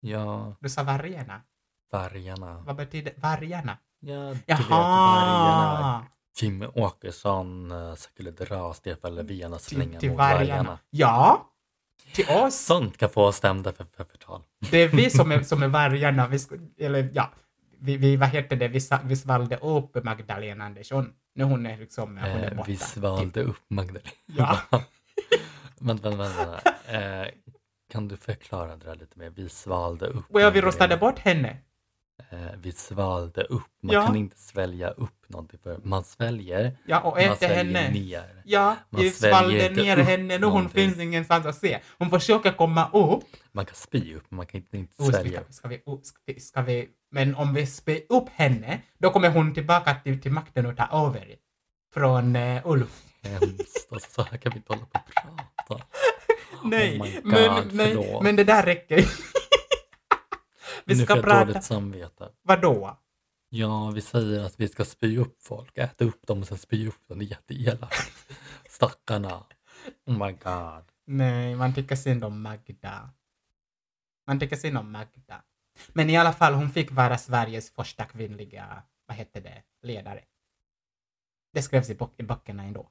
S1: Ja,
S2: Du sa vargarna?
S1: vargarna.
S2: Vad betyder vargarna?
S1: Ja, du vet, vargarna.
S2: Jaha!
S1: Jimmy Åkesson eh, skulle dra Stefan Löfven och
S2: Till,
S1: slänga
S2: till
S1: mot vargarna.
S2: vargarna. Ja! Till oss!
S1: Sånt kan få oss stämda för, för förtal.
S2: Det är vi som är, som är vargarna, vi, sk- eller ja, vi, vi, vad heter det, vi, sa- vi svalde upp Magdalena Andersson. Nu hon är liksom, hon är
S1: Eh,
S2: borta.
S1: vi svalde upp Magdalena.
S2: Ja.
S1: vänta, vänta, vänta. Eh, kan du förklara det där lite mer? Vi svalde upp.
S2: Och ja, vi
S1: Magdalena.
S2: röstade bort henne.
S1: Eh, vi svalde upp. Man
S2: Ja.
S1: kan inte svälja upp någonting för man sväljer.
S2: Ja, och
S1: man
S2: äter
S1: sväljer
S2: henne.
S1: ner.
S2: Ja,
S1: Man
S2: vi
S1: sväljer
S2: svalde
S1: inte
S2: ner
S1: upp
S2: henne nu, hon
S1: någonting.
S2: finns ingenstans att se. Hon försöker komma upp.
S1: Man kan spy upp, man kan inte, inte
S2: Oh, ska,
S1: svälja
S2: vi,
S1: upp.
S2: ska, vi, oh, ska, vi, ska vi, men om vi spär upp henne, då kommer hon tillbaka till, till makten och ta över. Från eh, Ulf.
S1: Hemskt. Alltså, så här kan vi inte hålla på och prata.
S2: Nej,
S1: Oh my God,
S2: men, nej,
S1: förlåt.
S2: men det där räcker. vi
S1: nu
S2: ska
S1: får jag
S2: prata,
S1: dåligt samvete.
S2: vadå?
S1: Ja, vi säger att vi ska spy upp folk, äta upp dem och sen spy upp dem. Det är jätteelakt. Stackarna. Oh my god.
S2: Nej, man tycker synd om Magda. Man tycker synd om Magda. Men i alla fall, hon fick vara Sveriges första kvinnliga, vad hette det, ledare. Det skrevs i, bok- i böckerna ändå.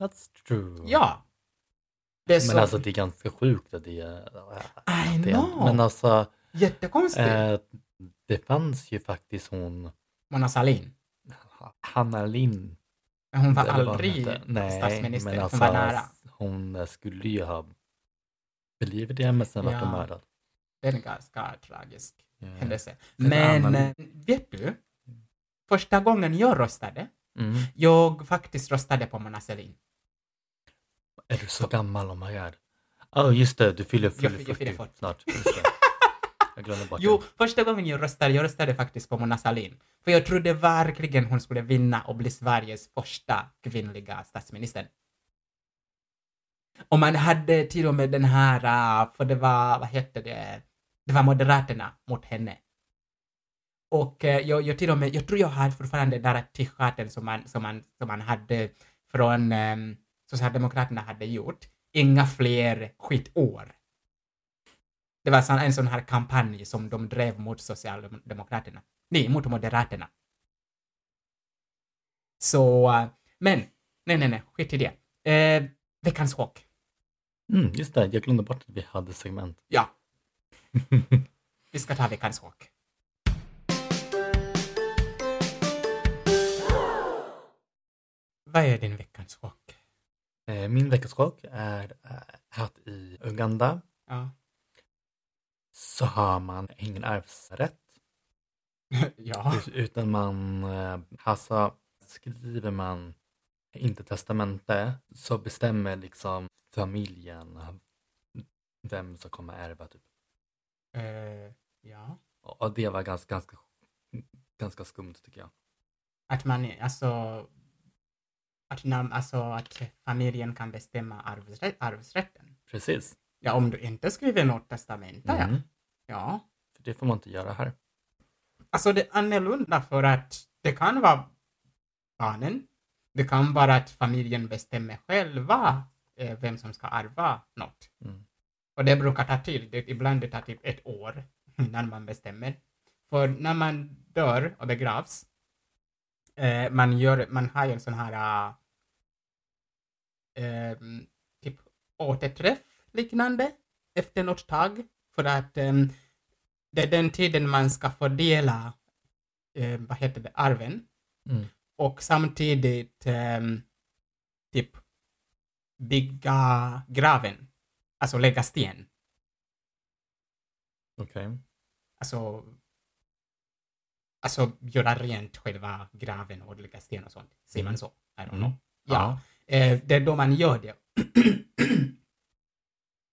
S1: That's true.
S2: Ja! Det är
S1: Mm. Men
S2: så...
S1: alltså det är ganska sjukt att det är...
S2: I
S1: Det är
S2: know!
S1: men alltså,
S2: Jättekonstigt.
S1: eh, det fanns ju faktiskt hon,
S2: Mona Sahlin.
S1: Hanna Lind.
S2: Men hon var
S1: eller vad hon
S2: aldrig
S1: hette. Nej,
S2: statsminister.
S1: men alltså,
S2: hon var nära.
S1: Hon skulle ju ha blivit det, men sen vart hon
S2: Ja.
S1: mördad.
S2: Det är en ganska tragisk
S1: Ja.
S2: händelse.
S1: Mm. En
S2: Men,
S1: annan-
S2: eh, vet du? Första gången jag röstade,
S1: Mm.
S2: jag faktiskt röstade på Mona Sahlin.
S1: Är du så gammal? Oh my god. Ja, just det. Du fyller,
S2: Jag
S1: fyller
S2: fyller
S1: 40
S2: 40.
S1: snart. Just det. Jag glömde bort
S2: Jo,
S1: det.
S2: första gången jag röstade, jag röstade faktiskt på Mona Sahlin. För jag trodde verkligen hon skulle vinna och bli Sveriges första kvinnliga statsminister. Och man hade till och med den här, ah, för det var, vad hette det, det var Moderaterna mot henne. Och eh, jag, jag till och med, jag tror jag hade fortfarande den där t-shirten som man, som man, som man hade från um, Socialdemokraterna hade gjort. Inga fler skitår. Det var sån- en sån här kampanj som de drev mot Socialdemokraterna. Nej, mot Moderaterna. Så, eh, men, nej, nej, nej, skit i det. Eh, veckans chock.
S1: Mm, just det, jag glömde bort att vi hade segment.
S2: Ja. Vi ska ta veckans chock. Vad är din veckans chock?
S1: Eh, Min veckans chock är eh, att i Uganda
S2: Ja.
S1: så har man ingen arvsrätt.
S2: ja.
S1: Ut- Utan man, eh, alltså skriver man inte testamente så bestämmer liksom familjen vem som kommer ärva. Typ.
S2: Eh, ja.
S1: Och och det var ganska, ganska, ganska skumt tycker jag.
S2: Att man, alltså, att, nam, alltså, att familjen kan bestämma arvsrä- arvsrätten.
S1: Precis.
S2: Ja, om du inte skriver något testamente, ja.
S1: Mm.
S2: ja.
S1: För det får man inte göra här.
S2: Alltså det är annorlunda för att det kan vara barnen, det kan vara att familjen bestämmer själva eh, vem som ska arva något.
S1: Mm.
S2: Och det brukar ta tid, det, ibland det tar typ ett år innan man bestämmer. För när man dör och begravs, eh, man, gör, man har ju en sån här eh, ehm, typ återträff liknande efter något tag för att ehm, det är den tiden man ska fördela eh, vad heter det, arven
S1: Mm.
S2: och samtidigt ehm, typ bygga graven, alltså lägga sten.
S1: Okej.
S2: Alltså, alltså göra rent själva graven och lägga sten och sånt. Säger man så? I don't know.
S1: Mm.
S2: Ja. Eh, det är då man gör det.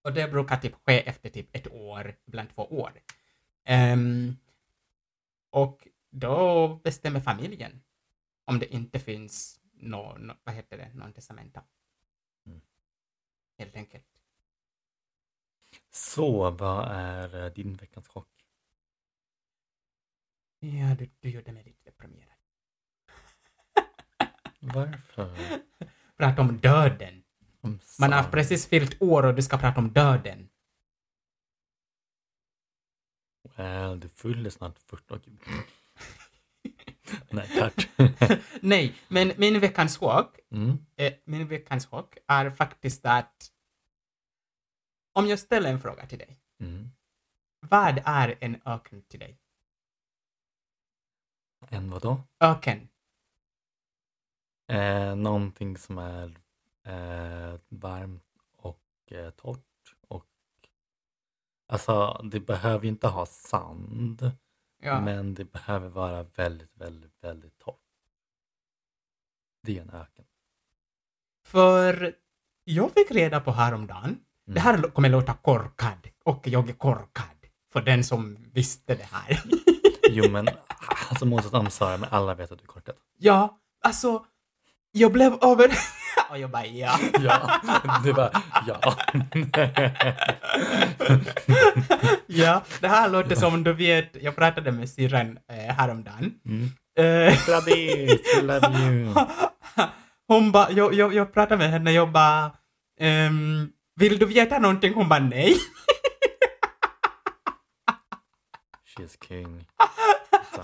S2: och det brukar typ ske efter typ ett år, ibland två år. Ehm, och då bestämmer familjen om det inte finns någon, nå vad heter det, någon testamenta.
S1: Mm.
S2: Helt enkelt.
S1: Så vad är eh, din veckans chock?
S2: Ja, du, du gjorde mig lite deprimerad.
S1: Varför?
S2: Prata om döden.
S1: I'm
S2: Man har
S1: sorry.
S2: precis fyllt år och du ska prata om döden.
S1: Well, du fyller snart 40. och- Nej, tack.
S2: Nej, men min veckans chock
S1: Mm.
S2: eh, min veckans chock är faktiskt att om jag ställer en fråga till dig.
S1: Mm.
S2: Vad är en öken till dig?
S1: En vadå?
S2: Öken.
S1: Eh, någonting som är eh, varmt och eh, torrt. Och, alltså, det behöver ju inte ha sand,
S2: Ja.
S1: men det behöver vara väldigt, väldigt, väldigt torrt. Det är en öken.
S2: För jag fick reda på häromdagen,
S1: Mm.
S2: det här lo- kommer låta korkad och jag är korkad för den som visste det här.
S1: Jo, men alltså, måste de svara, men alla vet att du är korkad.
S2: ja, alltså, jag blev över... och jag bara ja.
S1: Ja, det var ja.
S2: ja, det här låter som du vet, jag pratade med syrran eh, häromdagen.
S1: Mm.
S2: Eh,
S1: Gladys, we love you.
S2: Hon bara, jag, jag, jag pratade med henne, jag bara, ehm, vill du veta någonting? Hon bara nej.
S1: She is king.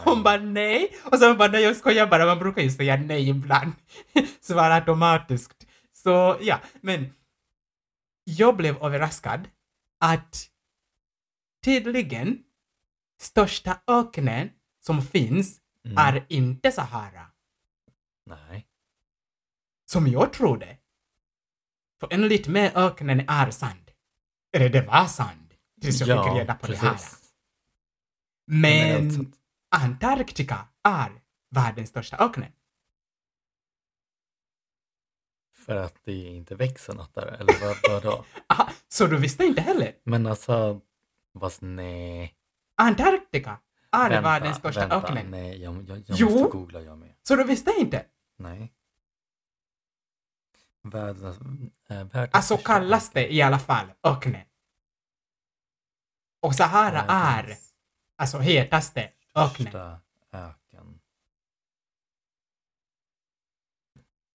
S2: Hon bara nej. Och sen bara, nej jag skojar bara, man brukar ju säga nej ibland. Svara automatiskt. Så ja, men jag blev överraskad att tydligen största öknen som finns
S1: Mm.
S2: är inte Sahara,
S1: Nej.
S2: som jag trodde. För enligt mig öknen är sand. Eller det var sand, tills jag fick reda på det här. Men
S1: Generellt sett.
S2: Antarktika är världens största öknen.
S1: För att det inte växer något där, eller vad, vadå?
S2: Aha, så du visste inte heller?
S1: Men alltså, vad nej.
S2: Antarktika är
S1: Vänta,
S2: världens största
S1: vänta.
S2: öken.
S1: Nej, jag, jag, jag
S2: Jo.
S1: måste googla jag med.
S2: Så du visste inte?
S1: Nej. Världens... Äh, världens
S2: Alltså
S1: största
S2: kallas det i alla fall öknen. Och Sahara
S1: öken.
S2: är
S1: Världens
S2: alltså hetaste öknen.
S1: största öken.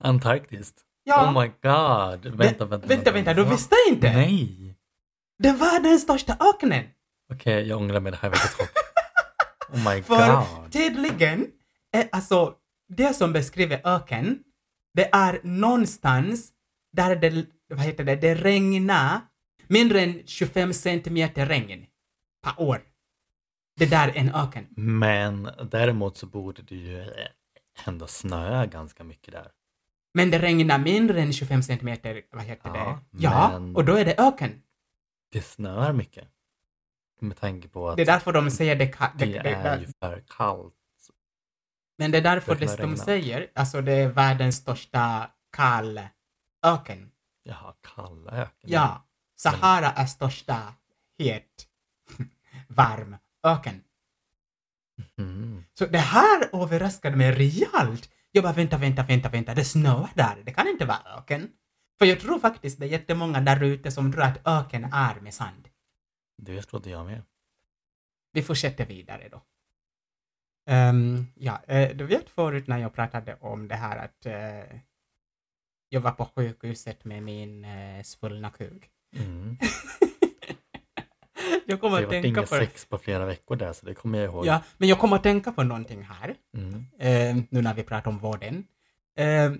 S1: Antarktis.
S2: Ja,
S1: Oh my god. Vänta, vänta.
S2: vänta, vänta, du
S1: Va?
S2: visste inte?
S1: Nej.
S2: Det var den största öknen!
S1: Okej, jag ångrar mig. Det här är väldigt tråkigt. Oh my
S2: För
S1: god.
S2: tydligen, är, alltså, det som beskriver öken, det är någonstans där det, vad heter det, det regnar mindre än 25 centimeter regn per år. Det där är en öken.
S1: Men däremot så borde det ju ändå snöa ganska mycket där.
S2: Men det regnar mindre än 25 centimeter, vad heter
S1: Ja,
S2: det? Ja,
S1: men-
S2: och då är det öken.
S1: Det snöar mycket. Med tanke på att
S2: Det är därför de säger det, ka- det,
S1: det
S2: det,
S1: är
S2: det
S1: ju för kallt.
S2: Men det är därför
S1: Det kan
S2: det de
S1: regna.
S2: säger, alltså det är världens största kall öken.
S1: Jaha, kalla öken.
S2: Ja, Sahara är största het, varm öken.
S1: Mm.
S2: Så det här överraskade mig rejält. Jag bara vänta, vänta, vänta, vänta, det snöar där, det kan inte vara öken. För jag tror faktiskt det är jättemånga där ute som tror att öken är med sand.
S1: Det trodde jag med.
S2: Vi fortsätter vidare då. Ehm, ja, eh, du vet förut när jag pratade om det här att eh, jag var på sjukhuset med min eh, svullna kuk.
S1: Mm.
S2: jag
S1: Det
S2: kommer
S1: har
S2: att
S1: varit
S2: tänka
S1: inga
S2: på...
S1: sex på flera veckor där så det kommer jag ihåg.
S2: Ja, men jag kommer att tänka på någonting här,
S1: Mm.
S2: eh, nu när vi pratar om vården. Eh,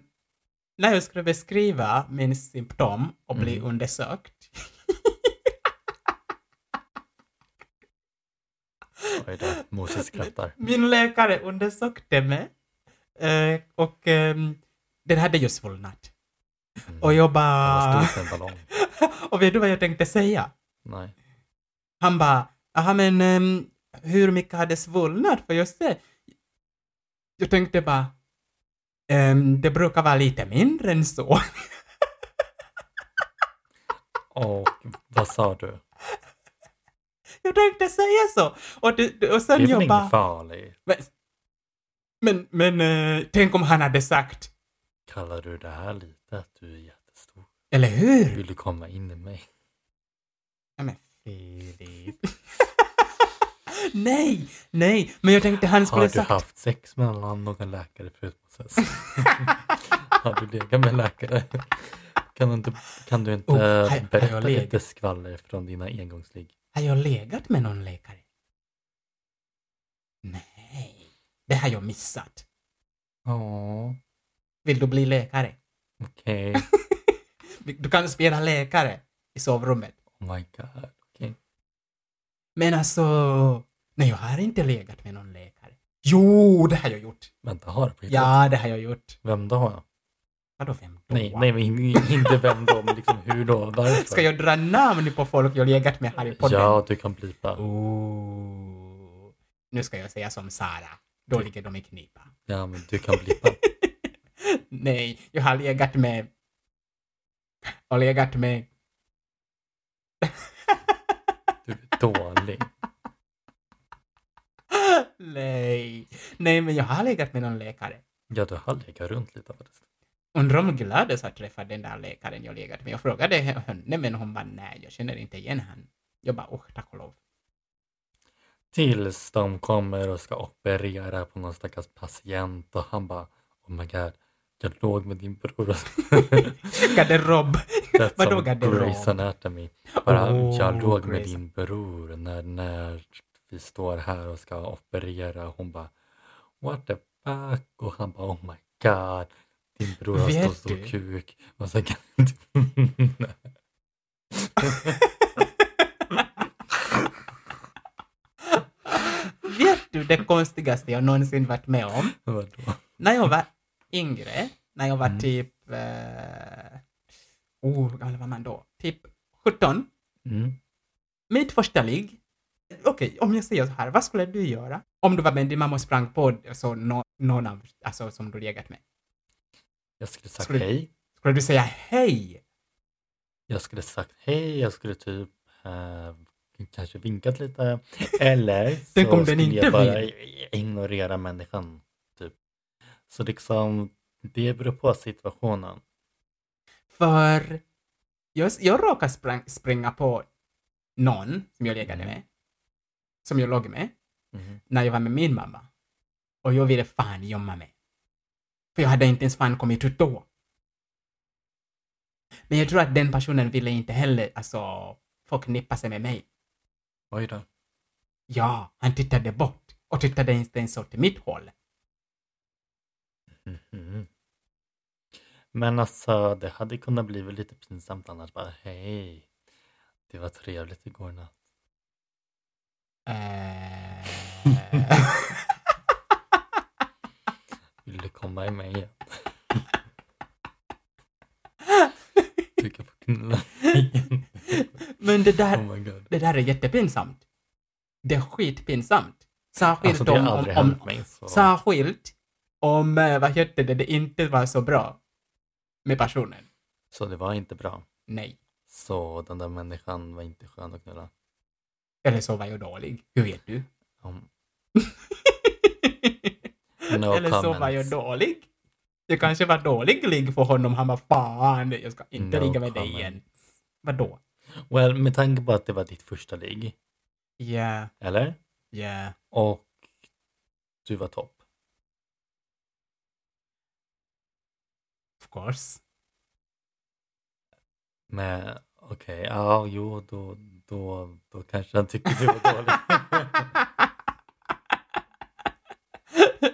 S2: när jag skulle beskriva min symptom och bli
S1: Mm.
S2: undersökt.
S1: Oj då, Moses skrattar.
S2: Min läkare undersökte mig eh, och ehm, den hade ju svullnat.
S1: Mm.
S2: Och jag
S1: Han
S2: bara...
S1: var stor som en ballong.
S2: och vet du vad jag tänkte säga?
S1: Nej.
S2: Han bara, jaha men ehm, hur mycket hade svullnat? För just det. Jag tänkte bara, ehm, det brukar vara lite mindre än så.
S1: Och vad sa du?
S2: Jag tänkte säga så. Och, det, och
S1: Det är
S2: sen
S1: väl
S2: jag
S1: inget
S2: bara,
S1: farligt?
S2: men, men, men eh, tänk om han hade sagt,
S1: Kallar du det här lite att du är jättestor?
S2: eller hur?
S1: Vill du komma in i mig?
S2: Ja, men Filip. nej, nej, men jag tänkte han
S1: Har
S2: skulle
S1: du
S2: sagt.
S1: haft sex med någon någon läkare förut Moses? Har du legat med en läkare? Kan du inte, kan du inte
S2: Oh, här- här
S1: berätta
S2: har jag
S1: lite skvaller från dina engångsligg?
S2: Har jag legat med någon läkare? Nej, det har jag missat.
S1: Ja,
S2: Vill du bli läkare?
S1: okej.
S2: Du kan spela läkare i sovrummet.
S1: Oh my god. okej.
S2: Men alltså, nej jag har inte legat med någon läkare. Jo, det har jag gjort.
S1: Vänta, har du på riktigt?
S2: Ja, det har jag gjort.
S1: Vem då?
S2: Vadå vem då?
S1: Nej, nej, men in- inte vem då, men liksom hur då? Varför?
S2: Ska jag dra namn på folk jag legat med här i podden?
S1: Ja, du kan blipa.
S2: Ooh. Nu ska jag säga som Sara. Då ligger de i knipa.
S1: Ja, men du kan blipa.
S2: Nej, jag har legat med... Och legat med...
S1: Du är dålig.
S2: Nej. Nej, men jag har legat med någon läkare.
S1: Ja, du har legat runt lite faktiskt.
S2: Undrar om hon gladdes att träffa den där läkaren jag legat med. Jag frågade henne, men hon bara nej, jag känner inte igen han. Jag bara, usch, tack och lov.
S1: Tills de kommer och ska operera på någon stackars patient och han bara Oh my god, jag låg med din bror.
S2: Garderob.
S1: That's
S2: Vadå
S1: some
S2: garderob?
S1: Grey's Anatomy. Bara,
S2: Oh,
S1: jag låg med
S2: Grey's-
S1: din bror när, när vi står här och ska operera. Hon bara What the fuck? Och han bara Oh my god. Din bror har
S2: Vet
S1: så stor
S2: du?
S1: kuk. Och så kan inte...
S2: Vet du det konstigaste jag någonsin varit med om?
S1: Vadå?
S2: När jag var yngre, när jag var
S1: Mm.
S2: typ... Eh, oh, hur gammal var man då? Typ 17.
S1: Mm.
S2: Mitt första ligg. Okej, om jag säger så här, vad skulle du göra? Om du var med din mamma och sprang på alltså, nå- någon av, alltså, som du legat med.
S1: Jag skulle sagt
S2: Skulle-
S1: hej.
S2: Skulle du säga hej?
S1: Jag skulle sagt hej, jag skulle typ eh, kanske vinkat lite. Eller
S2: Tänk om
S1: så
S2: den
S1: skulle
S2: inte
S1: jag bara ignorera människan. Typ. Så liksom, det beror på situationen.
S2: För jag, jag råkade sprang, springa på någon som jag lekade med, som jag låg med,
S1: Mhm.
S2: när jag var med min mamma. Och jag ville fan gömma mig. För jag hade inte ens fan kommit ut då. Men jag tror att den personen ville inte heller, alltså, förknippa sig med mig.
S1: Oj då.
S2: Ja, han tittade bort och tittade inte ens åt mitt håll.
S1: Mhm. Men alltså, det hade kunnat bli väl lite pinsamt annars. Bara, hej, det var trevligt igår natt.
S2: Eh,
S1: Vill du komma i mig igen? Du kan få knulla mig igen.
S2: Men det där,
S1: Oh my god.
S2: det där är jättepinsamt. Det är skitpinsamt. Särskilt
S1: Alltså det har
S2: om,
S1: aldrig
S2: om,
S1: hänt mig. Så.
S2: särskilt om, eh, vad heter det, det inte var så bra med personen.
S1: så det var inte bra.
S2: Nej.
S1: Så den där människan var inte skön att knulla.
S2: Eller så var jag dålig. Hur vet du?
S1: Om- No
S2: Eller så var
S1: comments.
S2: jag dålig. Jag kanske var dålig för honom. Han var fan, jag ska inte
S1: No
S2: ligga med dig
S1: comment.
S2: igen. Vadå?
S1: Well, med tanke på att det var ditt första ligg,
S2: Yeah,
S1: eller?
S2: yeah.
S1: Och du var topp.
S2: Of course.
S1: Men okej, ja, jo, då, då, då kanske han tyckte du var dålig.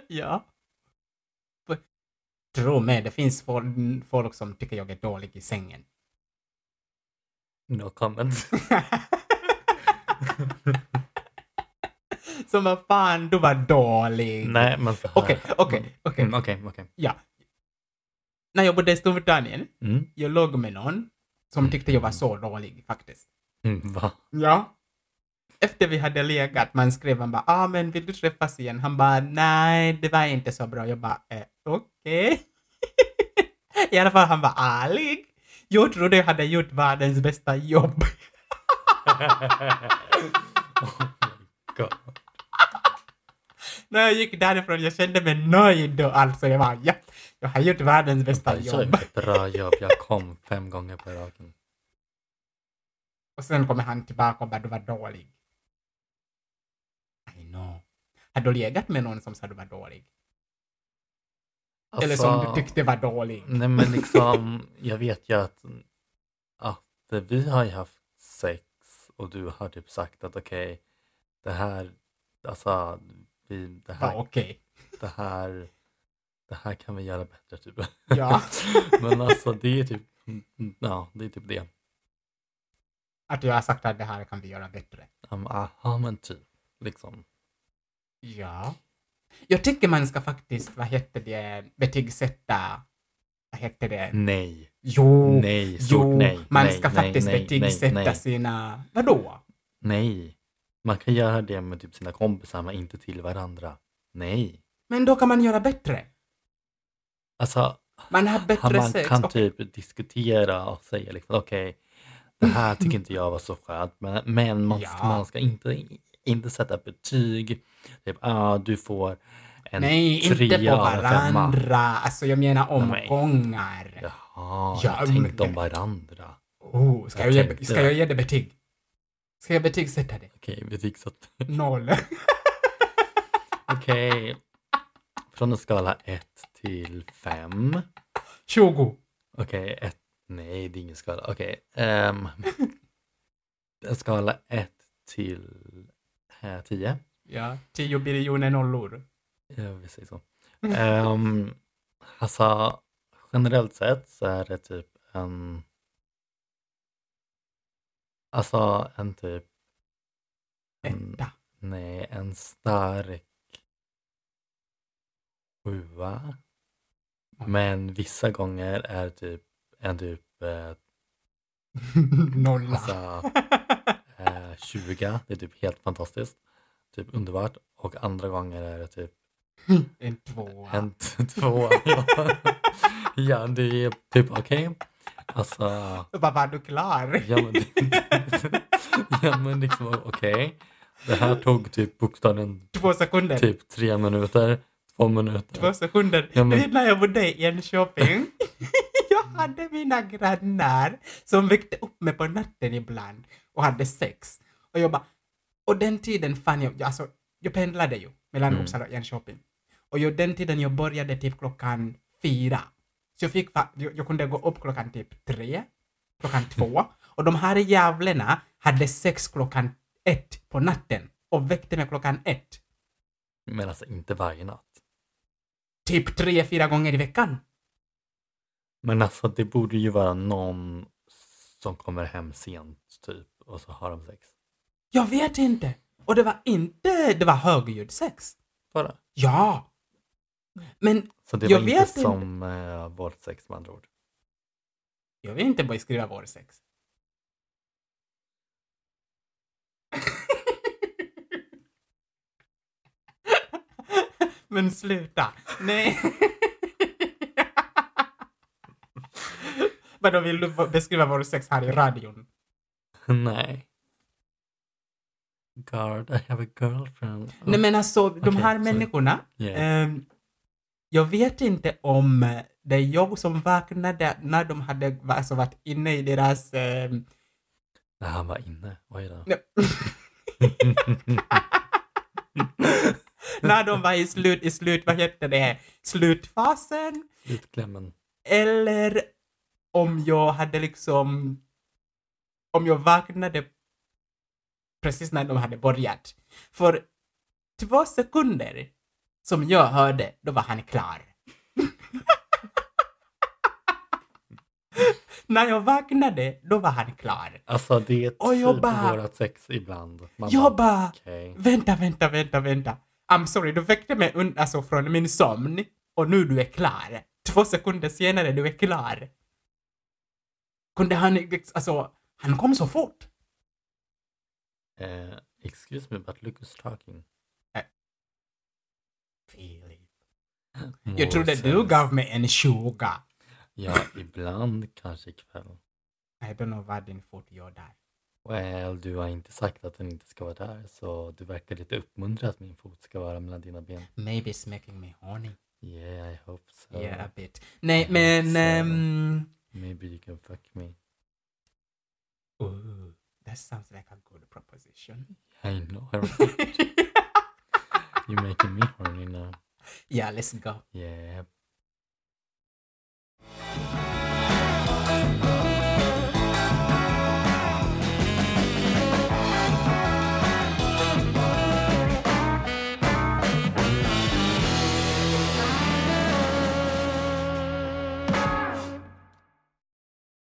S2: ja. För- Tro mig, det finns fol- folk som tycker jag är dålig i sängen.
S1: No comments.
S2: som vad fan, du var dålig.
S1: Nej, men så här.
S2: Okej, okej, okej.
S1: Mm, Okej, okej.
S2: När jag bodde i Storbritannien,
S1: Mm,
S2: jag låg med någon som tyckte jag var så dålig faktiskt.
S1: mm, Va?
S2: Ja. Efter vi hade legat, man skrev han bara ah, men vill du träffas igen? Han bara nej, det var inte så bra. Jag bara eh, okej. I alla fall han var ärlig. Jag trodde jag hade gjort världens bästa jobb.
S1: God.
S2: När jag gick därifrån jag kände mig nöjd och alltså jag bara ja, jag har gjort världens bästa
S1: Jag
S2: jobb.
S1: gjorde ett bra jobb. Jag kom fem gånger på raken.
S2: Och sen kommer han tillbaka och bara du var dålig. I know. Har du legat med någon som sa du var dålig? Eller som du
S1: Alltså-
S2: tyckte var dålig?
S1: Nej men liksom, jag vet ju att, att vi har ju haft sex och du har typ sagt att okej, det här, alltså, vi, det,
S2: Var
S1: här,
S2: okej.
S1: det här, det här kan vi göra bättre typ.
S2: Ja.
S1: Men alltså det är typ, ja det är typ det.
S2: Att jag har sagt att det här kan vi göra bättre.
S1: Um, aha men typ, liksom.
S2: Ja. Jag tycker man ska faktiskt, vad heter det, betygsätta, vad heter det?
S1: Nej,
S2: Jo,
S1: nej, stort
S2: jo,
S1: nej.
S2: man
S1: nej,
S2: ska
S1: nej,
S2: faktiskt
S1: nej, nej,
S2: betygsätta
S1: nej.
S2: sina, vadå?
S1: Nej, man kan göra det med typ sina kompisar men inte till varandra. Nej,
S2: Men då kan man göra bättre.
S1: alltså
S2: Man har
S1: Han,
S2: bättre
S1: man
S2: sex.
S1: kan
S2: och-
S1: typ diskutera och säga liksom okej, det här tycker inte jag var så skönt. Men, men man,
S2: Ja.
S1: man ska inte, inte sätta betyg. Typ, ah, du får en
S2: Nej, inte på
S1: trea av en femma.
S2: varandra. Alltså jag menar
S1: Nej.
S2: omgångar.
S1: Jaha,
S2: Ja,
S1: jag tänkte
S2: men-
S1: om varandra.
S2: Oh, ska, jag
S1: Jag
S2: ge,
S1: tänkte
S2: ska
S1: det.
S2: jag ge det betyg? Ska jag betygsätta det?
S1: Okej, betygsatt.
S2: Noll.
S1: Okej. Från en skala 1 till 5.
S2: 20.
S1: Okej, ett. Nej, det är ingen skala. Okej. ehm, en skala 1 till eh, 10.
S2: Ja, 10 biljoner nollor.
S1: Ja, vi säger så.
S2: Ehm,
S1: Um, alltså, generellt sett så är det typ en... Alltså en typ... En,
S2: Etta.
S1: nej, en stark sjua. Men vissa gånger är typ en typ eh,
S2: Nolla.
S1: alltså, eh, 20. Det är typ helt fantastiskt. Typ underbart. Och andra gånger är det typ
S2: En tvåa.
S1: En, t- två. ja. ja, det är typ okej. Alltså,
S2: Vad var du klar?
S1: ja men det, ja men liksom okej. Det här tog typ bokstavligen
S2: Två sekunder.
S1: typ tre minuter, två minuter.
S2: Två sekunder.
S1: Ja, men-
S2: Du vet när jag bodde i Enköping. jag hade mina grannar som väckte upp mig på natten ibland och hade sex. Och jag bara, och den tiden fann jag, alltså jag pendlade ju mellan
S1: Mm.
S2: Uppsala och Enköping. Och jag, den tiden jag började typ klockan fyra. Så jag fick, fa- jag, jag kunde gå upp klockan typ tre, klockan
S1: Mm.
S2: två. Och de här jävlarna hade sex klockan ett på natten och väckte mig klockan ett.
S1: Men alltså inte varje natt.
S2: Typ tre, fyra gånger i veckan.
S1: Men alltså det borde ju vara någon som kommer hem sent typ och så har de sex.
S2: Jag vet inte. Och det var inte, det var högljudd sex.
S1: Bara.
S2: Ja. Men
S1: Så det
S2: Jag
S1: var inte
S2: vet
S1: som eh, våldsex med andra ord.
S2: jag vill inte beskriva vår sex. Men sluta. Nej. Vadå, vill du beskriva vår sex här i
S1: Mm.
S2: radion?
S1: Nej. God, I have a girlfriend.
S2: Nej men alltså, de
S1: Okej,
S2: här
S1: sorry.
S2: människorna,
S1: yeah.
S2: Ehm, jag vet inte om eh, det är jag som vaknade när de hade va- alltså, varit inne i deras... ehm,
S1: Nej, han var inne. Oj då.
S2: nej, när de var i slut, i slut, vad heter det, slutfasen.
S1: Slutklämmen.
S2: Eller om jag hade liksom... Om jag vaknade precis när de hade börjat. För två sekunder som jag hörde, då var han klar. när jag vaknade, då var han klar.
S1: Alltså det är typ
S2: Och jag bara-
S1: vårat sex ibland. Man
S2: Jag bara...
S1: Okej.
S2: Vänta, vänta, vänta, vänta. I'm sorry, du väckte mig un- alltså, från min sömn och nu du är klar. Två sekunder senare, du är klar. Kunde han, ex- alltså, han kom så fort.
S1: Eh, excuse me but Lucas talking.
S2: Filip. Jag trodde du
S1: Moses.
S2: gav mig en 20.
S1: Ja, ibland kanske ikväll.
S2: I don't know vad din fot gör där.
S1: Well, du har inte sagt att den inte ska vara där så du verkar lite uppmuntrad att min fot ska vara mellan dina ben.
S2: Maybe it's making me horny.
S1: Yeah, I hope so.
S2: Yeah, a bit. Nej,
S1: Jag
S2: men...
S1: hoppas, eh,
S2: ehm,
S1: Maybe you can fuck me.
S2: ooh, that sounds like a good proposition.
S1: I know. right? You're making me horny now.
S2: yeah, let's go.
S1: Yeah,